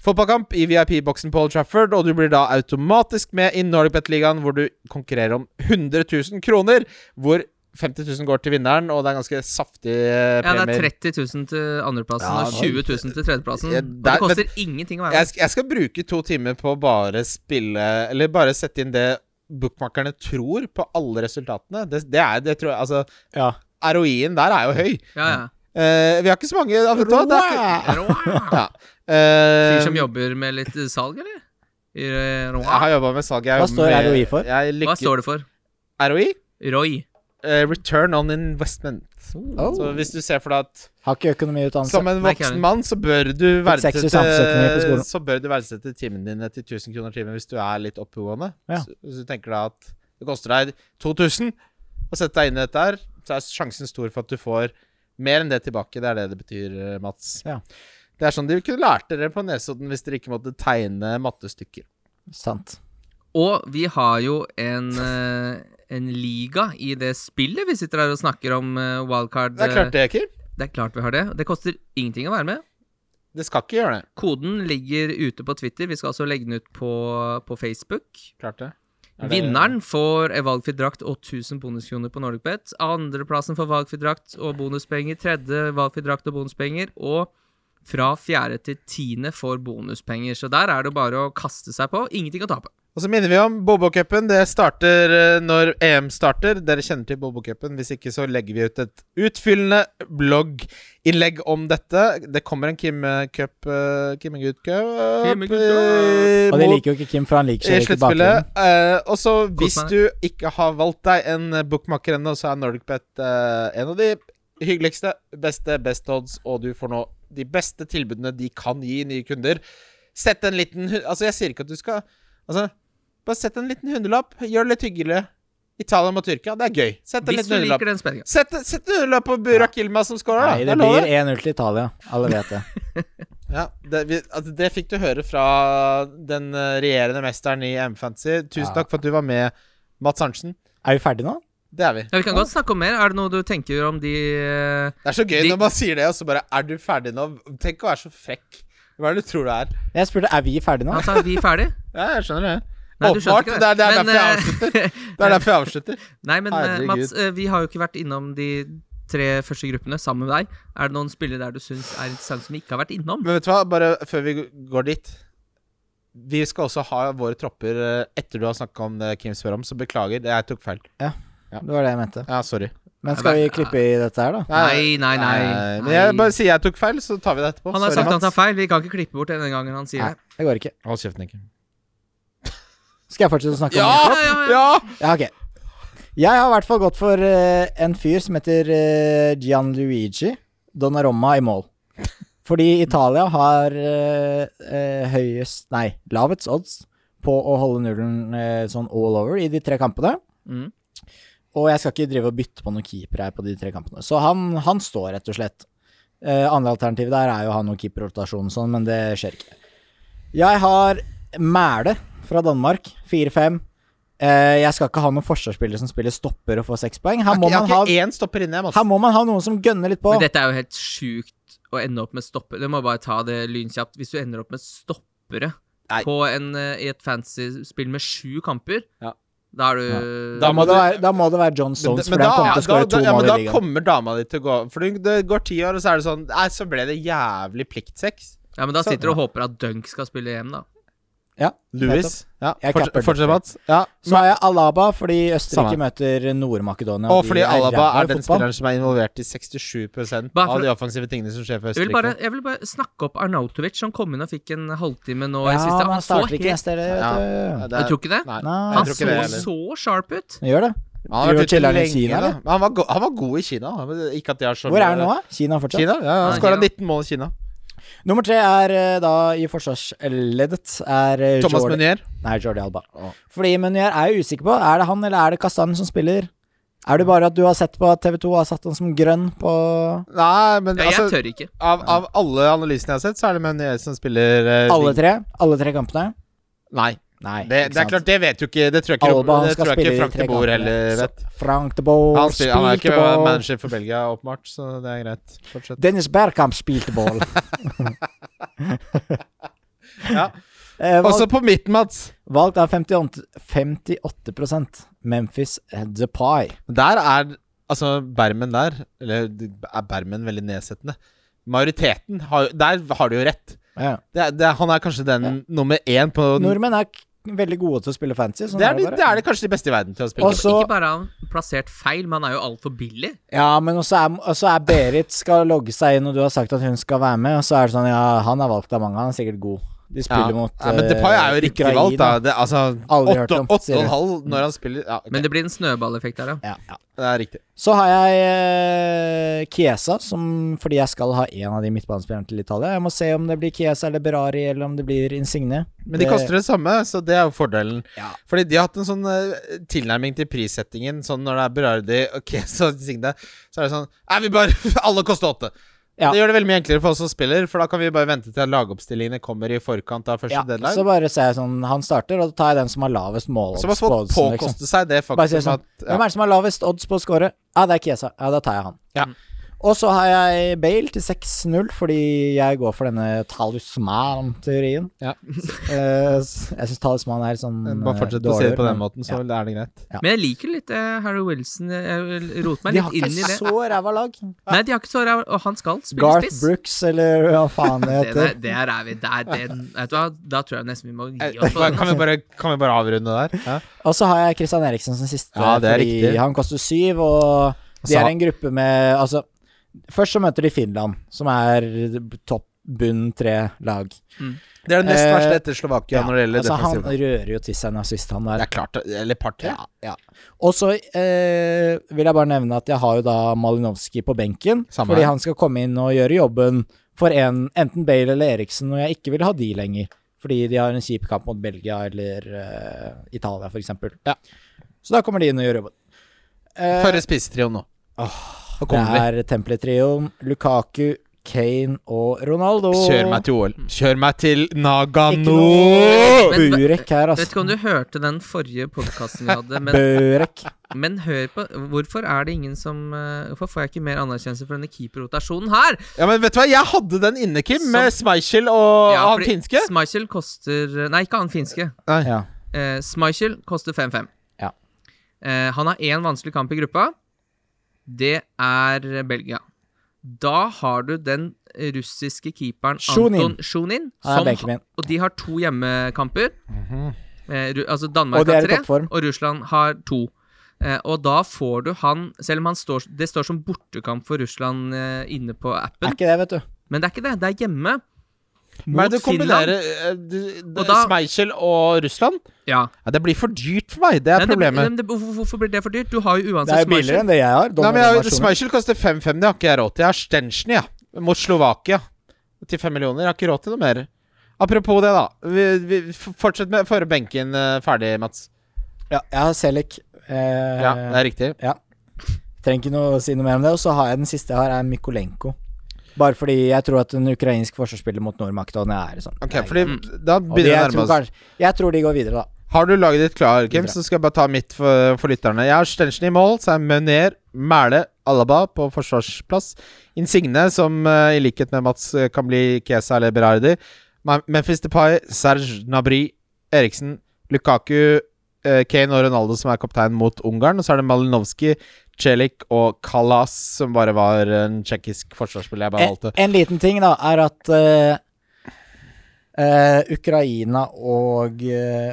C: fotballkamp i VIP-boksen på Old Trafford, og du blir da automatisk med i NordicBet-ligaen, hvor du konkurrerer om 100 000 kroner, hvor 50 000 går til vinneren, og det er ganske saftig eh,
B: Ja, det
C: premier.
B: er 30 000 til andreplassen
C: Ja,
B: og 20 000 til tredjeplassen.
C: Ja,
B: og
C: der-
B: det koster ingenting å
C: jeg,
B: være med.
C: sk- jeg skal bruke to timer på å bare spille Eller bare sette inn det bookmakerne tror på alle resultatene. Det, det er det tror jeg Altså,
D: Ja.
C: ROI-en der er jo høy.
B: Ja, ja.
C: Eh, vi har ikke så mange ja, vet du hva, det er ikke-
B: Roar.
C: Ja. Eh,
B: Fyr som jobber med litt salg, eller? I, eh,
C: Jeg har
B: Roar.
C: jobba med salg. Jeg
D: Hva
C: jobber
D: står
C: med-
D: ROI for?
C: Jeg
B: Hva
C: lykker,
B: står det for?
C: ROI?
B: Roy.
C: Eh, return on investment.
D: Oh.
C: Så hvis du ser for deg at
D: Har ikke økonomiutdannelse.
C: Som en
B: Nei, ikke
C: voksen
B: heller.
C: mann så bør du
D: sekser i samfunnsøkonomi på
C: verdsette
D: skolen.
C: Så bør du verdsette timene dine til 1000 kroner timen hvis du er litt oppegående.
D: Ja.
C: Så, hvis du tenker deg at det koster deg 2000 å sette deg inn i dette her, så er sjansen stor for at du får mer enn det tilbake. Det er det det betyr, eh, Mats.
D: Ja.
C: Det er sånn de kunne lært dere på Nesodden hvis dere ikke måtte tegne mattestykker.
D: Sant.
B: Og vi har jo en, eh, en liga i det spillet vi sitter her og snakker om eh, wildcard.
C: Det er klart det, Kim.
B: Det er klart vi har det. Det koster ingenting å være med.
C: Det skal ikke gjøre det.
B: Koden ligger ute på Twitter. Vi skal også legge den ut på, på Facebook.
C: Klart det. Er det-
B: Vinneren får en valgfri drakt og 1000 bonuskroner på NordicBet. Andreplassen får valgfri drakt og bonuspenger. Tredje valgfri drakt og bonuspenger. Og fra fjerde til tiende får bonuspenger. Så der er det bare å kaste seg på. Ingenting å tape.
C: Og så minner vi om Bobokupen. Det starter eh, når EM starter. Dere kjenner til Bobokupen. Hvis ikke, så legger vi ut et utfyllende blogginnlegg om dette. Det kommer en Kim eh, Cup eh, Kim Good Cup
B: Kim Good Cup.
C: eh,
D: Og det
C: mot-
D: liker jo ikke Kim, for han liker
C: i
D: seg ikke i bakgrunnen.
C: sluttspillet. Eh, og så hvis
B: meg.
C: du ikke har valgt deg en eh, bookmaker ennå, så er NordicBet eh, en av de hyggeligste, beste best odds, og du får nå de beste tilbudene de kan gi nye kunder. Sett en liten hu- Altså, jeg sier ikke at du skal Altså, bare sett en liten hundrelapp. Gjør det litt hyggelig. Italia mot Tyrkia, det er gøy. Sett en
B: Hvis
C: liten
B: du
C: hundrelapp.
B: liker den spenninga.
C: Sett, sett en hundrelapp på Burak Yilmaz som scorer, da.
D: Nei,
C: Ah, Jeg
D: det
C: lover.
D: blir 1-0 til Italia. Alle vet det.
C: Ja, det, vi, altså det fikk du høre fra den eh, regjerende mesteren i M-Fantasy. Tusen
D: Ja.
C: takk for at du var med, Mats Arntzen.
D: Er vi ferdige nå?
C: Det er vi.
B: Ja, vi kan godt snakke om mer. Er det noe du tenker om de eh,
C: Det er så gøy
B: De-
C: når man sier det, og så bare Er du ferdig nå? Tenk å være så frekk. Hva er det du tror du er?
D: Jeg spurte er vi ferdige nå.
B: Altså, er vi ferdig?
C: Ja, jeg skjønner det.
B: Nei, du
C: Åpenbart.
B: skjønte ikke
C: Det
B: det.
C: er, det, er
B: Men,
C: derfor jeg
B: eh,
C: avslutter. det er derfor jeg avslutter.
B: Nei, men eh,
C: Herregud.
B: Mats, eh, vi har jo ikke vært innom de tre første gruppene sammen med deg. Er det noen spillere der du syns er interessant som vi ikke har vært innom?
C: Men vet du hva, bare før vi går dit Vi skal også ha våre tropper eh, etter du har snakka om det Kim spør om, så beklager. Jeg tok feil.
D: Det var det jeg mente.
C: Ja, sorry.
D: Men skal vi klippe i dette her, da?
B: Nei, nei, nei.
C: Men jeg bare sier jeg tok feil, så tar vi det etterpå.
B: Han har sagt
C: Mats.
B: han tar feil. Vi kan ikke klippe bort denne gangen han sier
D: Nei,
B: det.
D: det går ikke.
C: Hold kjeften, Kim.
D: Skal jeg fortsette å snakke om
B: Ja, ja, ja.
D: Ja, ok. Jeg har i hvert fall gått for eh, en fyr som heter eh, Gianluigi Donnaromma i mål. Fordi Italia har eh, eh, høyest Nei, lavest odds på å holde nullen eh, sånn all over i de tre kampene.
B: Mm.
D: Og jeg skal ikke drive og bytte på noen keeper her på de tre kampene. Så han, han står, rett og slett. Eh, andre alternativet der er jo å ha noen keeperrotasjon og sånn, men det skjer ikke. Jeg har Mæle fra Danmark, 4-5. Eh, jeg skal ikke ha noen forsvarsspillere som spiller stopper og får seks poeng. Her må,
C: Jeg
D: man
C: har
D: ha,
C: ikke én stopper inne, jeg, Mats.
D: her må man ha noen som gønner litt på.
B: Men dette er jo helt sjukt å ende opp med stopper. Du må bare ta det lynkjapt. Hvis du ender opp med stoppere
C: Nei.
B: på en, eh, i et fancy spill med sju kamper,
C: Ja.
B: da er du
C: Da
D: Da må,
C: må
D: det
C: du-
D: være, da må det være John
C: Men,
D: Stones,
C: men
D: for
C: da,
D: han kommer til å
C: da,
D: skåre
C: da,
D: to
C: ja, men
D: mål
C: da
D: i ligaen.
C: kommer dama di til å gå For det det går ti år, og så er det sånn Nei, så ble det jævlig pliktsex.
B: Ja, men da
C: Så-
B: sitter du og håper at Dunk skal spille hjem, da.
D: Ja, nettopp.
C: Louis. Ja,
D: Jeg
C: forts-
D: capper
C: fortsett,
D: det.
C: Mats. Ja.
D: Så har jeg Alaba, fordi Østerrike
C: Samme.
D: møter Nord-Makedonia.
C: Og
D: de
C: fordi
D: er
C: Alaba
D: ræva i
C: er den
D: fotball.
C: spilleren som er involvert i 67
B: Bare for-
C: av de offensive tingene som skjer for
B: Jeg vil, bare,
C: Østerrike.
B: jeg vil bare snakke opp Arnautovic, som kom inn og fikk en halvtime nå i
D: Ja,
B: siste.
D: men
B: Han
D: han
B: så
D: starter ikke
B: helt
D: neste, det,
C: Ja.
D: vet
C: Ja,
D: du.
C: det er-
B: Du tror ikke det?
C: Nei,
D: Nei.
C: jeg
B: Han
C: tror
B: så
C: ikke det heller.
B: så sharp ut.
D: Han Gjør det.
C: Han
D: Driver
C: har vært ute
D: chiller'n i
C: lenge,
D: Kina,
C: da.
D: eller?
C: Men Han var, go han var god i Kina. Han var- Ikke at de har så
D: Hvor er han nå, da? Kina fortsatt?
C: Kina? Ja, han
B: Ja,
C: skåra
B: Kina.
C: 19 mål i Kina.
D: Nummer tre er eh, da i forsvarsleddet er eh,
C: Thomas
D: Jordi-
C: Meunier.
D: Nei, Jordi Alba.
C: Å.
D: Fordi Munier er jeg usikker på. Er det han eller er det Kastanjen som spiller? Er det bare at du har sett på at TV2 har satt han som grønn på
C: Nei, men
B: Ja, jeg
C: altså
B: tør ikke.
C: av, av alle analysene jeg har sett, så er det Meunier som spiller eh,
D: alle tre? Alle tre kampene?
C: Nei.
D: Nei. ikke
C: Det, det er
D: sant.
C: klart, det vet jo ikke Det tror jeg ikke,
D: Alba
C: det
D: skal
C: tror jeg
D: spille
C: ikke
D: i
C: Frank
D: tre
C: de Boer
D: kamper.
C: heller
D: Så-
C: vet.
D: Frank de Boer
C: Han, spiller, han er
D: spilte
C: ikke
D: ball.
C: manager for Belgia, åpenbart, så det er greit. Fortsett.
D: Dennis Bergkamp spilte ball.
C: Ja.
D: Eh, valg,
C: Også på midten, Mats.
D: valgt av 58, 58 Memphis Depay.
C: Der er altså bermen der Eller er bermen veldig nedsettende? Majoriteten har, Der har du jo rett.
D: Ja.
C: Det, er- det, er- han er kanskje den nummer én på
D: Nordmenn er k- veldig gode til å spille fancy. Sånn
C: det er, de,
D: bare.
C: det er de kanskje de beste i verden til å spille.
D: Og så-
B: Ikke bare er han plassert feil, men han er jo altfor billig.
D: Ja, men også er, også er Berit skal logge seg inn, og du har sagt at hun skal være med, og så er det sånn Ja, han er valgt av mange, han er sikkert god. De spiller mot
C: ja, men
D: eh,
C: Depay er jo riktig
D: Ukraina.
C: valgt, da. Det, altså,
D: Aldri hørt
C: åtte,
D: om,
C: åtte
D: sier
C: og en
D: du.
C: halv når han spiller Ja, ok.
B: Men det blir en snøballeffekt der, ja.
D: Ja, ja.
C: det er riktig.
D: Så har jeg eh, Chiesa, som, fordi jeg skal ha en av de midtbanespillerne til Italia. Jeg må se om det blir Chiesa eller Berari, eller om det blir Insigne.
C: Men de
D: Det-
C: koster det samme, så det er jo fordelen.
D: Ja.
C: Fordi de har hatt en sånn eh, tilnærming til prissettingen, sånn når det er Berardi og Kesa og Signe, så er det sånn Nei, vi bare Alle koster åtte!
D: Ja.
C: Det gjør det veldig mye enklere for oss som spiller, for da kan vi bare vente til lagoppstillingene kommer i forkant av første
D: Ja,
C: deadline.
D: så bare ser jeg sånn Han starter, og da tar jeg den som har lavest mål.
C: Som har fått påkoste seg det
D: liksom. Bare sier sånn
C: faktum at
D: Hvem
C: ja.
D: er det som har lavest odds på å score? Ja, det er Kiesa. Ja, da tar jeg han.
C: Ja.
D: Og så har jeg Bale til 6-0, fordi jeg går for denne talisman-teorien.
C: Ja.
D: Eh, s- jeg syns talisman er sånn
C: Bare fortsett
D: eh,
C: å si det
D: dårlig,
C: på den
D: men
C: måten, så er det greit.
D: Ja.
B: Men jeg liker litt eh, Harry Wilson. Jeg jeg roter meg
D: De har
B: litt
D: ikke
B: inn i det.
D: så ræva lag.
B: Nei, de har ikke så ræv, og han skal spille
D: Garth
B: spiss.
D: Brooks, eller hva faen det
B: Det der,
D: heter.
B: der er vi. Der, den, vet du hva, da tror jeg nesten vi må gi oss. på den.
C: Kan vi bare, kan vi bare avrunde der? Ja.
D: Og så har jeg Christian Eriksen som siste,
C: Ja, det er
D: fordi
C: riktig.
D: han koster syv, og de
C: Så-
D: altså, er en gruppe med Altså, først så møter de Finland, som er topp bunn tre lag.
C: Det er det nest
D: Eh,
C: verste etter Slovakia når det gjelder
D: altså, han
C: defensiv.
D: rører jo til seg nazist, han
C: Det
D: der.
C: er klart, det- eller par tre.
D: Ja, ja. Og så eh, vil jeg bare nevne at jeg har jo da Malinowski på benken,
C: Samme
D: fordi
C: her.
D: han skal komme inn og gjøre jobben for en, enten Bale eller Eriksen, og jeg ikke vil ha de lenger, fordi de har en kjip kamp mot Belgia eller eh, Italia, for eksempel.
C: Ja.
D: Så da kommer de inn og gjør jobben. Eh,
C: Førre spissetrio nå. Nå
D: det
C: kommer vi.
D: er Templetrioen, Lukaku, Kane og Ronaldo.
C: Kjør meg til OL. Kjør meg til
D: Ikke
C: Nagano!
D: noe
B: Men-
D: Burek her,
B: Jeg vet ikke
D: altså.
B: om du hørte den forrige podkasten vi hadde, men,
D: Burek.
B: men hør på Hvorfor er det ingen som eh, Hvorfor får jeg ikke mer anerkjennelse for denne keeperrotasjonen her?
C: Ja, men vet du hva, jeg hadde den inne, Kim, med Schmeichel og
B: Ja,
C: han
B: fordi
C: finske.
B: Schmeichel koster Nei, ikke han finske.
D: Ja.
B: Eh, Schmeichel koster 5-5.
D: Ja.
B: Eh, han har én vanskelig kamp i gruppa. Det er Belgia. Da har du den russiske keeperen
D: Sjunin.
B: Anton Sjunin.
D: Han er benken
B: som-
D: min.
B: og de har to hjemmekamper. Eh, Ru- altså
D: Og
B: Danmark
D: de er
B: har
D: i
B: tre,
D: toppform.
B: og Russland har to. Eh, og da får du han Selv om han står, det står som bortekamp for Russland eh, inne på
D: Er
B: appen,
D: ikke det, vet du.
B: men det er ikke det. Det er hjemme.
C: Men du
B: Mot Finland.
C: kombinerer eh, d- d-
B: Og da-
C: Schmeichel og Russland?
B: Ja.
C: Ja, det blir for dyrt for meg. Det er
B: Nei, det-
C: problemet.
B: men det, hvorfor, hvorfor blir det for dyrt? Du har jo
D: Det er
B: uansett
D: jo billigere
B: Schmeichel.
D: enn det jeg har.
C: Nei, men jeg,
D: Dommerrenovasjoner.
C: Schmeichel koster 5,50. Det har ikke jeg råd til. Jeg har Stenchen, ja. Mot Slovakia. Til 5 millioner. Jeg har ikke råd til noe mer. Apropos det, da. Vi, vi f- Fortsett med forrige benken eh, ferdig, Mats.
D: Ja, jeg har Selic. Eh,
C: Ja, det er riktig.
D: Trenger ikke noe å si noe mer om det. Og så har jeg den siste jeg har, er Mykolenko. Bare fordi jeg tror at en ukrainsk forsvarsspiller mot Nord-Makedonia er sånn.
C: Ok, fordi da
D: Og de,
C: begynner vi å
D: jeg,
C: nærme
D: tror
C: oss.
D: kanskje, jeg tror de går videre, da.
C: Har du laget ditt klar, Kim,
D: Videre.
C: så skal jeg bare ta mitt for, for lytterne. Jeg har Stenchen i mål, så er Mønier, Mæle, Alaba på forsvarsplass. Insigne, som eh, i likhet med Mats eh, kan bli Kesa eller Berardi. Ma- Memphis Depay, Serge Nabry, Eriksen, Lukaku, eh, Kane og Ronaldo som er kaptein mot Ungarn. Og så er det Malinowski, Celik og Kalas, som bare var en tsjekkisk forsvarsspiller jeg bare
D: En,
C: valgte.
D: en liten ting, da, er at eh, eh, Ukraina og eh,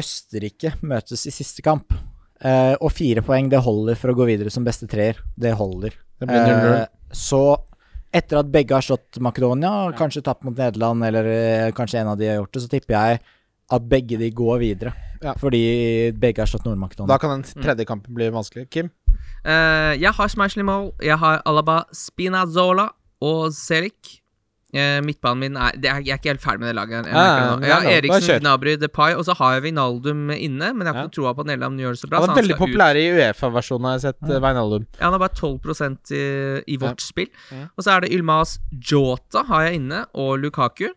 D: Østerrike møtes i siste kamp. Eh, og fire poeng, det holder for å gå videre som beste treer. Det holder.
C: Det blir 0-0.
D: Eh, så etter at begge har slått Makedonia, og kanskje tapt mot Nederland, eller eh, kanskje en av de har gjort det, så tipper jeg at begge de går videre.
C: Ja.
D: Fordi begge har slått
C: Da
D: Nord-Makedonia.
C: kan den
D: mm.
C: tredje kampen bli vanskelig. Kim?
B: Eh, jeg har Schmeichel i mål. Jeg har Alaba, Spinazzola og Selic. Eh, midtbanen min er, det er Jeg er ikke helt ferdig med det laget. her. Jeg,
C: Ah,
B: merker det nå.
C: det er lov.
B: jeg har
C: Bare kjør.
B: Eriksen, Gnabry, Depay, og så har jeg Vinaldum inne. Men jeg
C: Ja.
B: har ikke troa på at Nederland gjør det så bra.
C: Han
B: så
C: er veldig
B: skal ut.
C: populær i Uefa-versjonen, har jeg sett. eh, Wijnaldum.
B: Ja, han har bare 12 i, i
C: Ja.
B: vårt spill.
C: Ja.
B: Og så er det Ylmas Jota har jeg inne, og Lukaku.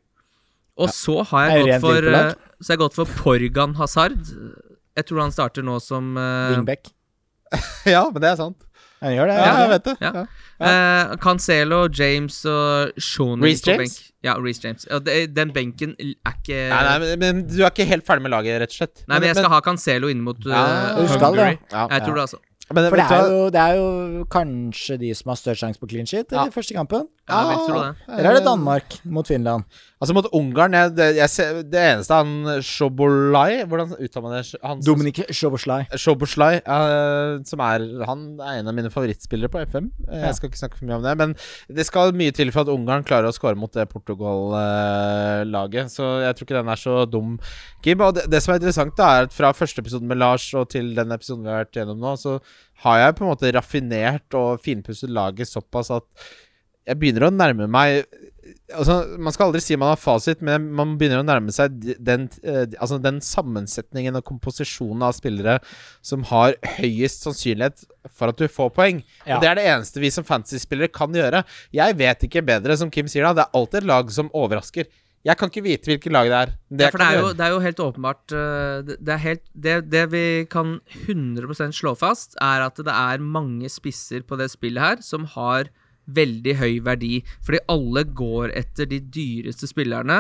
B: Og så
D: Er
B: har jeg
D: det
B: gått
D: rent
B: for
D: Liverpool-lag?
B: eh, Så har jeg gått for Porgan Hazard. Jeg tror han starter nå som eh,
D: Wingback.
C: ja, men det er sant.
D: Han gjør det.
C: Ja, jeg
D: gjør det.
C: vet det.
B: Ja.
C: Ja.
B: Eh, Cancelo, James og Shonen
C: Reece
B: på
C: James?
B: benk. Ja, Reece James. Og det, den benken er ikke
C: Nei, nei, men, men du er ikke helt ferdig med laget, rett og slett.
B: Nei, men jeg skal ha Cancelo inn mot
C: Ja,
B: eh,
D: Du skal det.
B: Hungary.
C: ja,
B: Jeg tror det, altså.
C: Men
D: For det
C: vet du
D: er,
C: hva?
D: jo, det er jo kanskje de som har størst sjanse på clean sheet
C: Ja. Eh,
D: i første kampen.
B: Ja, jeg vil tro
C: Ah.
B: det.
D: Eller er det Danmark mot Finland?
C: Altså, mot Ungarn jeg, det, jeg ser, det eneste han Sjobolai Hvordan uttaler man det? Han, som-
D: Dominik Szoboslai.
C: Szoboszlai, eh, som er Han er en av mine favorittspillere på FM. Eh,
D: Ja.
C: Jeg skal ikke snakke for mye om det, men det skal mye til for at Ungarn klarer å skåre mot det Portugal-laget. Så jeg tror ikke den er så dum, Gib. Og det, det som er interessant, da, er at fra første episoden med Lars og til den episoden vi har vært gjennom nå, så har jeg på en måte raffinert og finpusset laget såpass at jeg begynner å nærme meg Altså, Man skal aldri si man har fasit, men man begynner å nærme seg d- den, eh, altså den sammensetningen og komposisjonen av spillere som har høyest sannsynlighet for at du får poeng.
D: Ja.
C: Og Det er det eneste vi som fantasy-spillere kan gjøre. Jeg vet ikke bedre, som Kim sier da. Det er alltid et lag som overrasker. Jeg kan ikke vite hvilket lag det er. men Det
B: ja, for det
C: kan
B: er, jo,
C: jeg gjøre.
B: det er jo helt åpenbart eh, det, det, er helt, det, det vi kan 100 slå fast, er at det er mange spisser på det spillet her som har veldig høy verdi. Fordi alle går etter de dyreste spillerne.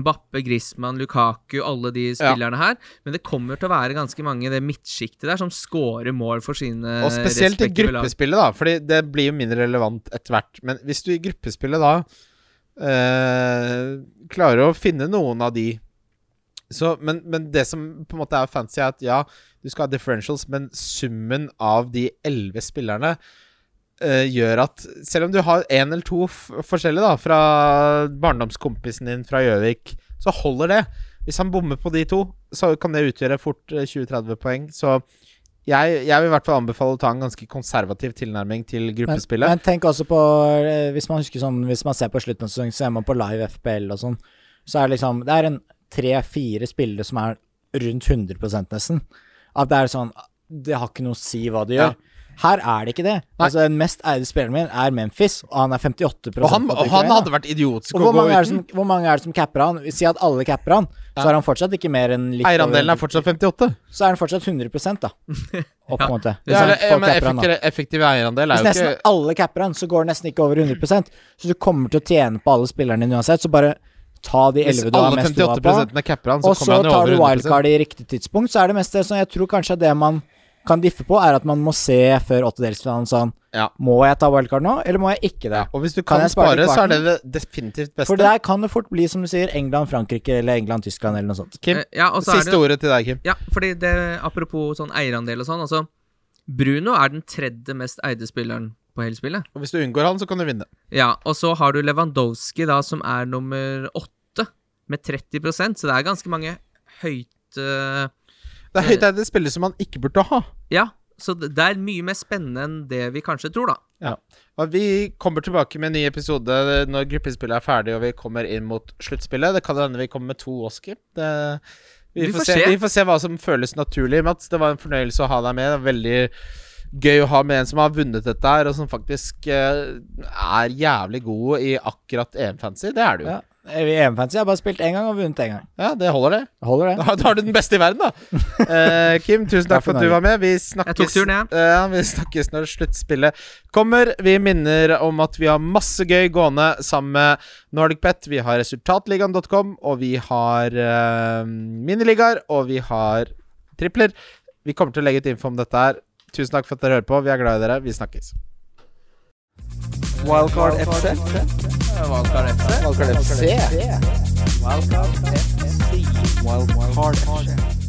B: Mbappe, Griezmann, Lukaku, alle de spillerne her. Men det kommer til å være ganske mange i det midtsjiktet der som scorer mål for sine
C: Og spesielt i
B: respektive lag.
C: gruppespillet, da. Fordi det blir jo mindre relevant etter hvert. Men hvis du i gruppespillet da eh, klarer å finne noen av de så, men, men det som på en måte er fancy, er at ja, du skal ha differentials, men summen av de elleve spillerne eh, eh, gjør at Selv om du har én eller to f forskjellige da fra barndomskompisen din fra Gjøvik, så holder det. Hvis han bommer på de to, så kan det utgjøre fort eh, 20-30 poeng. Så jeg, jeg vil i hvert fall anbefale å ta en ganske konservativ tilnærming til
D: Men,
C: gruppespillet.
D: men tenk også på eh, Hvis man husker sånn Hvis man ser på slutten av sesongen, så er man på live FPL og sånn, så er det liksom Det er en tre-fire spillere som er rundt 100 nesten. At det er sånn Det har ikke noe å si hva de
C: Ja.
D: gjør. Her er det ikke det.
C: Nei.
D: Altså Den mest eide spilleren min er Memphis, og han er 58
C: og han,
D: på
C: og han
D: Ukraina.
C: hadde vært idiotisk
D: Og
C: å
D: hvor
C: gå
D: mange, er det
C: uten.
D: som, hvor mange er det som capper han? Si at alle capper han, så er han fortsatt ikke mer enn litt
C: Eierandelen er
D: over
C: fortsatt 58.
D: Så er han fortsatt 100 da. Opp på en måte. Hvis
C: Ja,
D: han-
C: eller, ja,
D: folk capper han,
C: men
D: da.
C: effektiv, effektiv eierandel
D: Hvis
C: er jo ikke
D: nesten alle capper han, så går det nesten ikke over 100 Så du kommer til å tjene på alle spillerne dine uansett, så bare ta de
C: Hvis
D: 11 du har
C: alle
D: mest troa
C: 58
D: på.
C: er capper han, så
D: Og
C: kommer
D: så
C: han jo
D: tar
C: over
D: du
C: 100
D: wildcard i riktig tidspunkt, så er det meste sånn Jeg tror kanskje det man kan diffe på, er at man må se før åttedelsfinalen sånn
C: Ja.
D: Må jeg ta wildcard nå, eller må jeg ikke det?
C: Og hvis du
D: Kan
C: kan,
D: jeg spare
C: spare,
D: til
C: så er det det definitivt beste.
D: For der kan det fort bli, som du sier, England-Frankrike eller England-Tyskland eller noe sånt.
C: Kim,
B: Eh, ja, og så er
C: siste
B: det-
C: ordet til deg, Kim.
B: Ja, fordi det, apropos sånn eierandel og sånn, altså Bruno er den tredje mest eide spilleren på hele spillet.
C: Og hvis du unngår han, så kan du vinne.
B: Ja, og så har du Lewandowski da, som er nummer åtte, med 30 så det er ganske mange høyt eh,
C: Det er høyt eide spillere som man ikke burde ha.
B: Ja, så det det er mye mer spennende enn det vi kanskje tror, da.
C: Og vi kommer tilbake med en ny episode når gruppespillet er ferdig og vi kommer inn mot sluttspillet. Det kan hende vi kommer med to også, Kim. Det, vi, får se. vi får se hva som føles naturlig, Mats. Det var en fornøyelse å ha deg med. Det er veldig gøy å ha med en som har vunnet dette her, og som faktisk eh, er jævlig god i akkurat EM-fancy. Det er du jo.
D: Ja. I EM-fancy har jeg bare spilt én gang og vunnet én gang.
C: Ja, det holder, det.
D: Holder det?
C: Da, da har du den beste i verden, da. Eh, Kim, tusen takk
D: Takk for
C: for at du
D: Norge.
C: var med. Vi snakkes,
B: Jeg tok turen, jeg.
C: Ja, vi snakkes når sluttspillet kommer. Vi minner om at vi har masse gøy gående sammen med NordicBet. Vi har resultatligaen.com, og vi har eh, miniligaer, og vi har tripler. Vi kommer til å legge ut info om dette her. Tusen takk for at dere hører på. Vi er glad i dere. Vi snakkes.
A: Wildcard FC. Wildcard FC. Wildcard FC. Wildcard FC.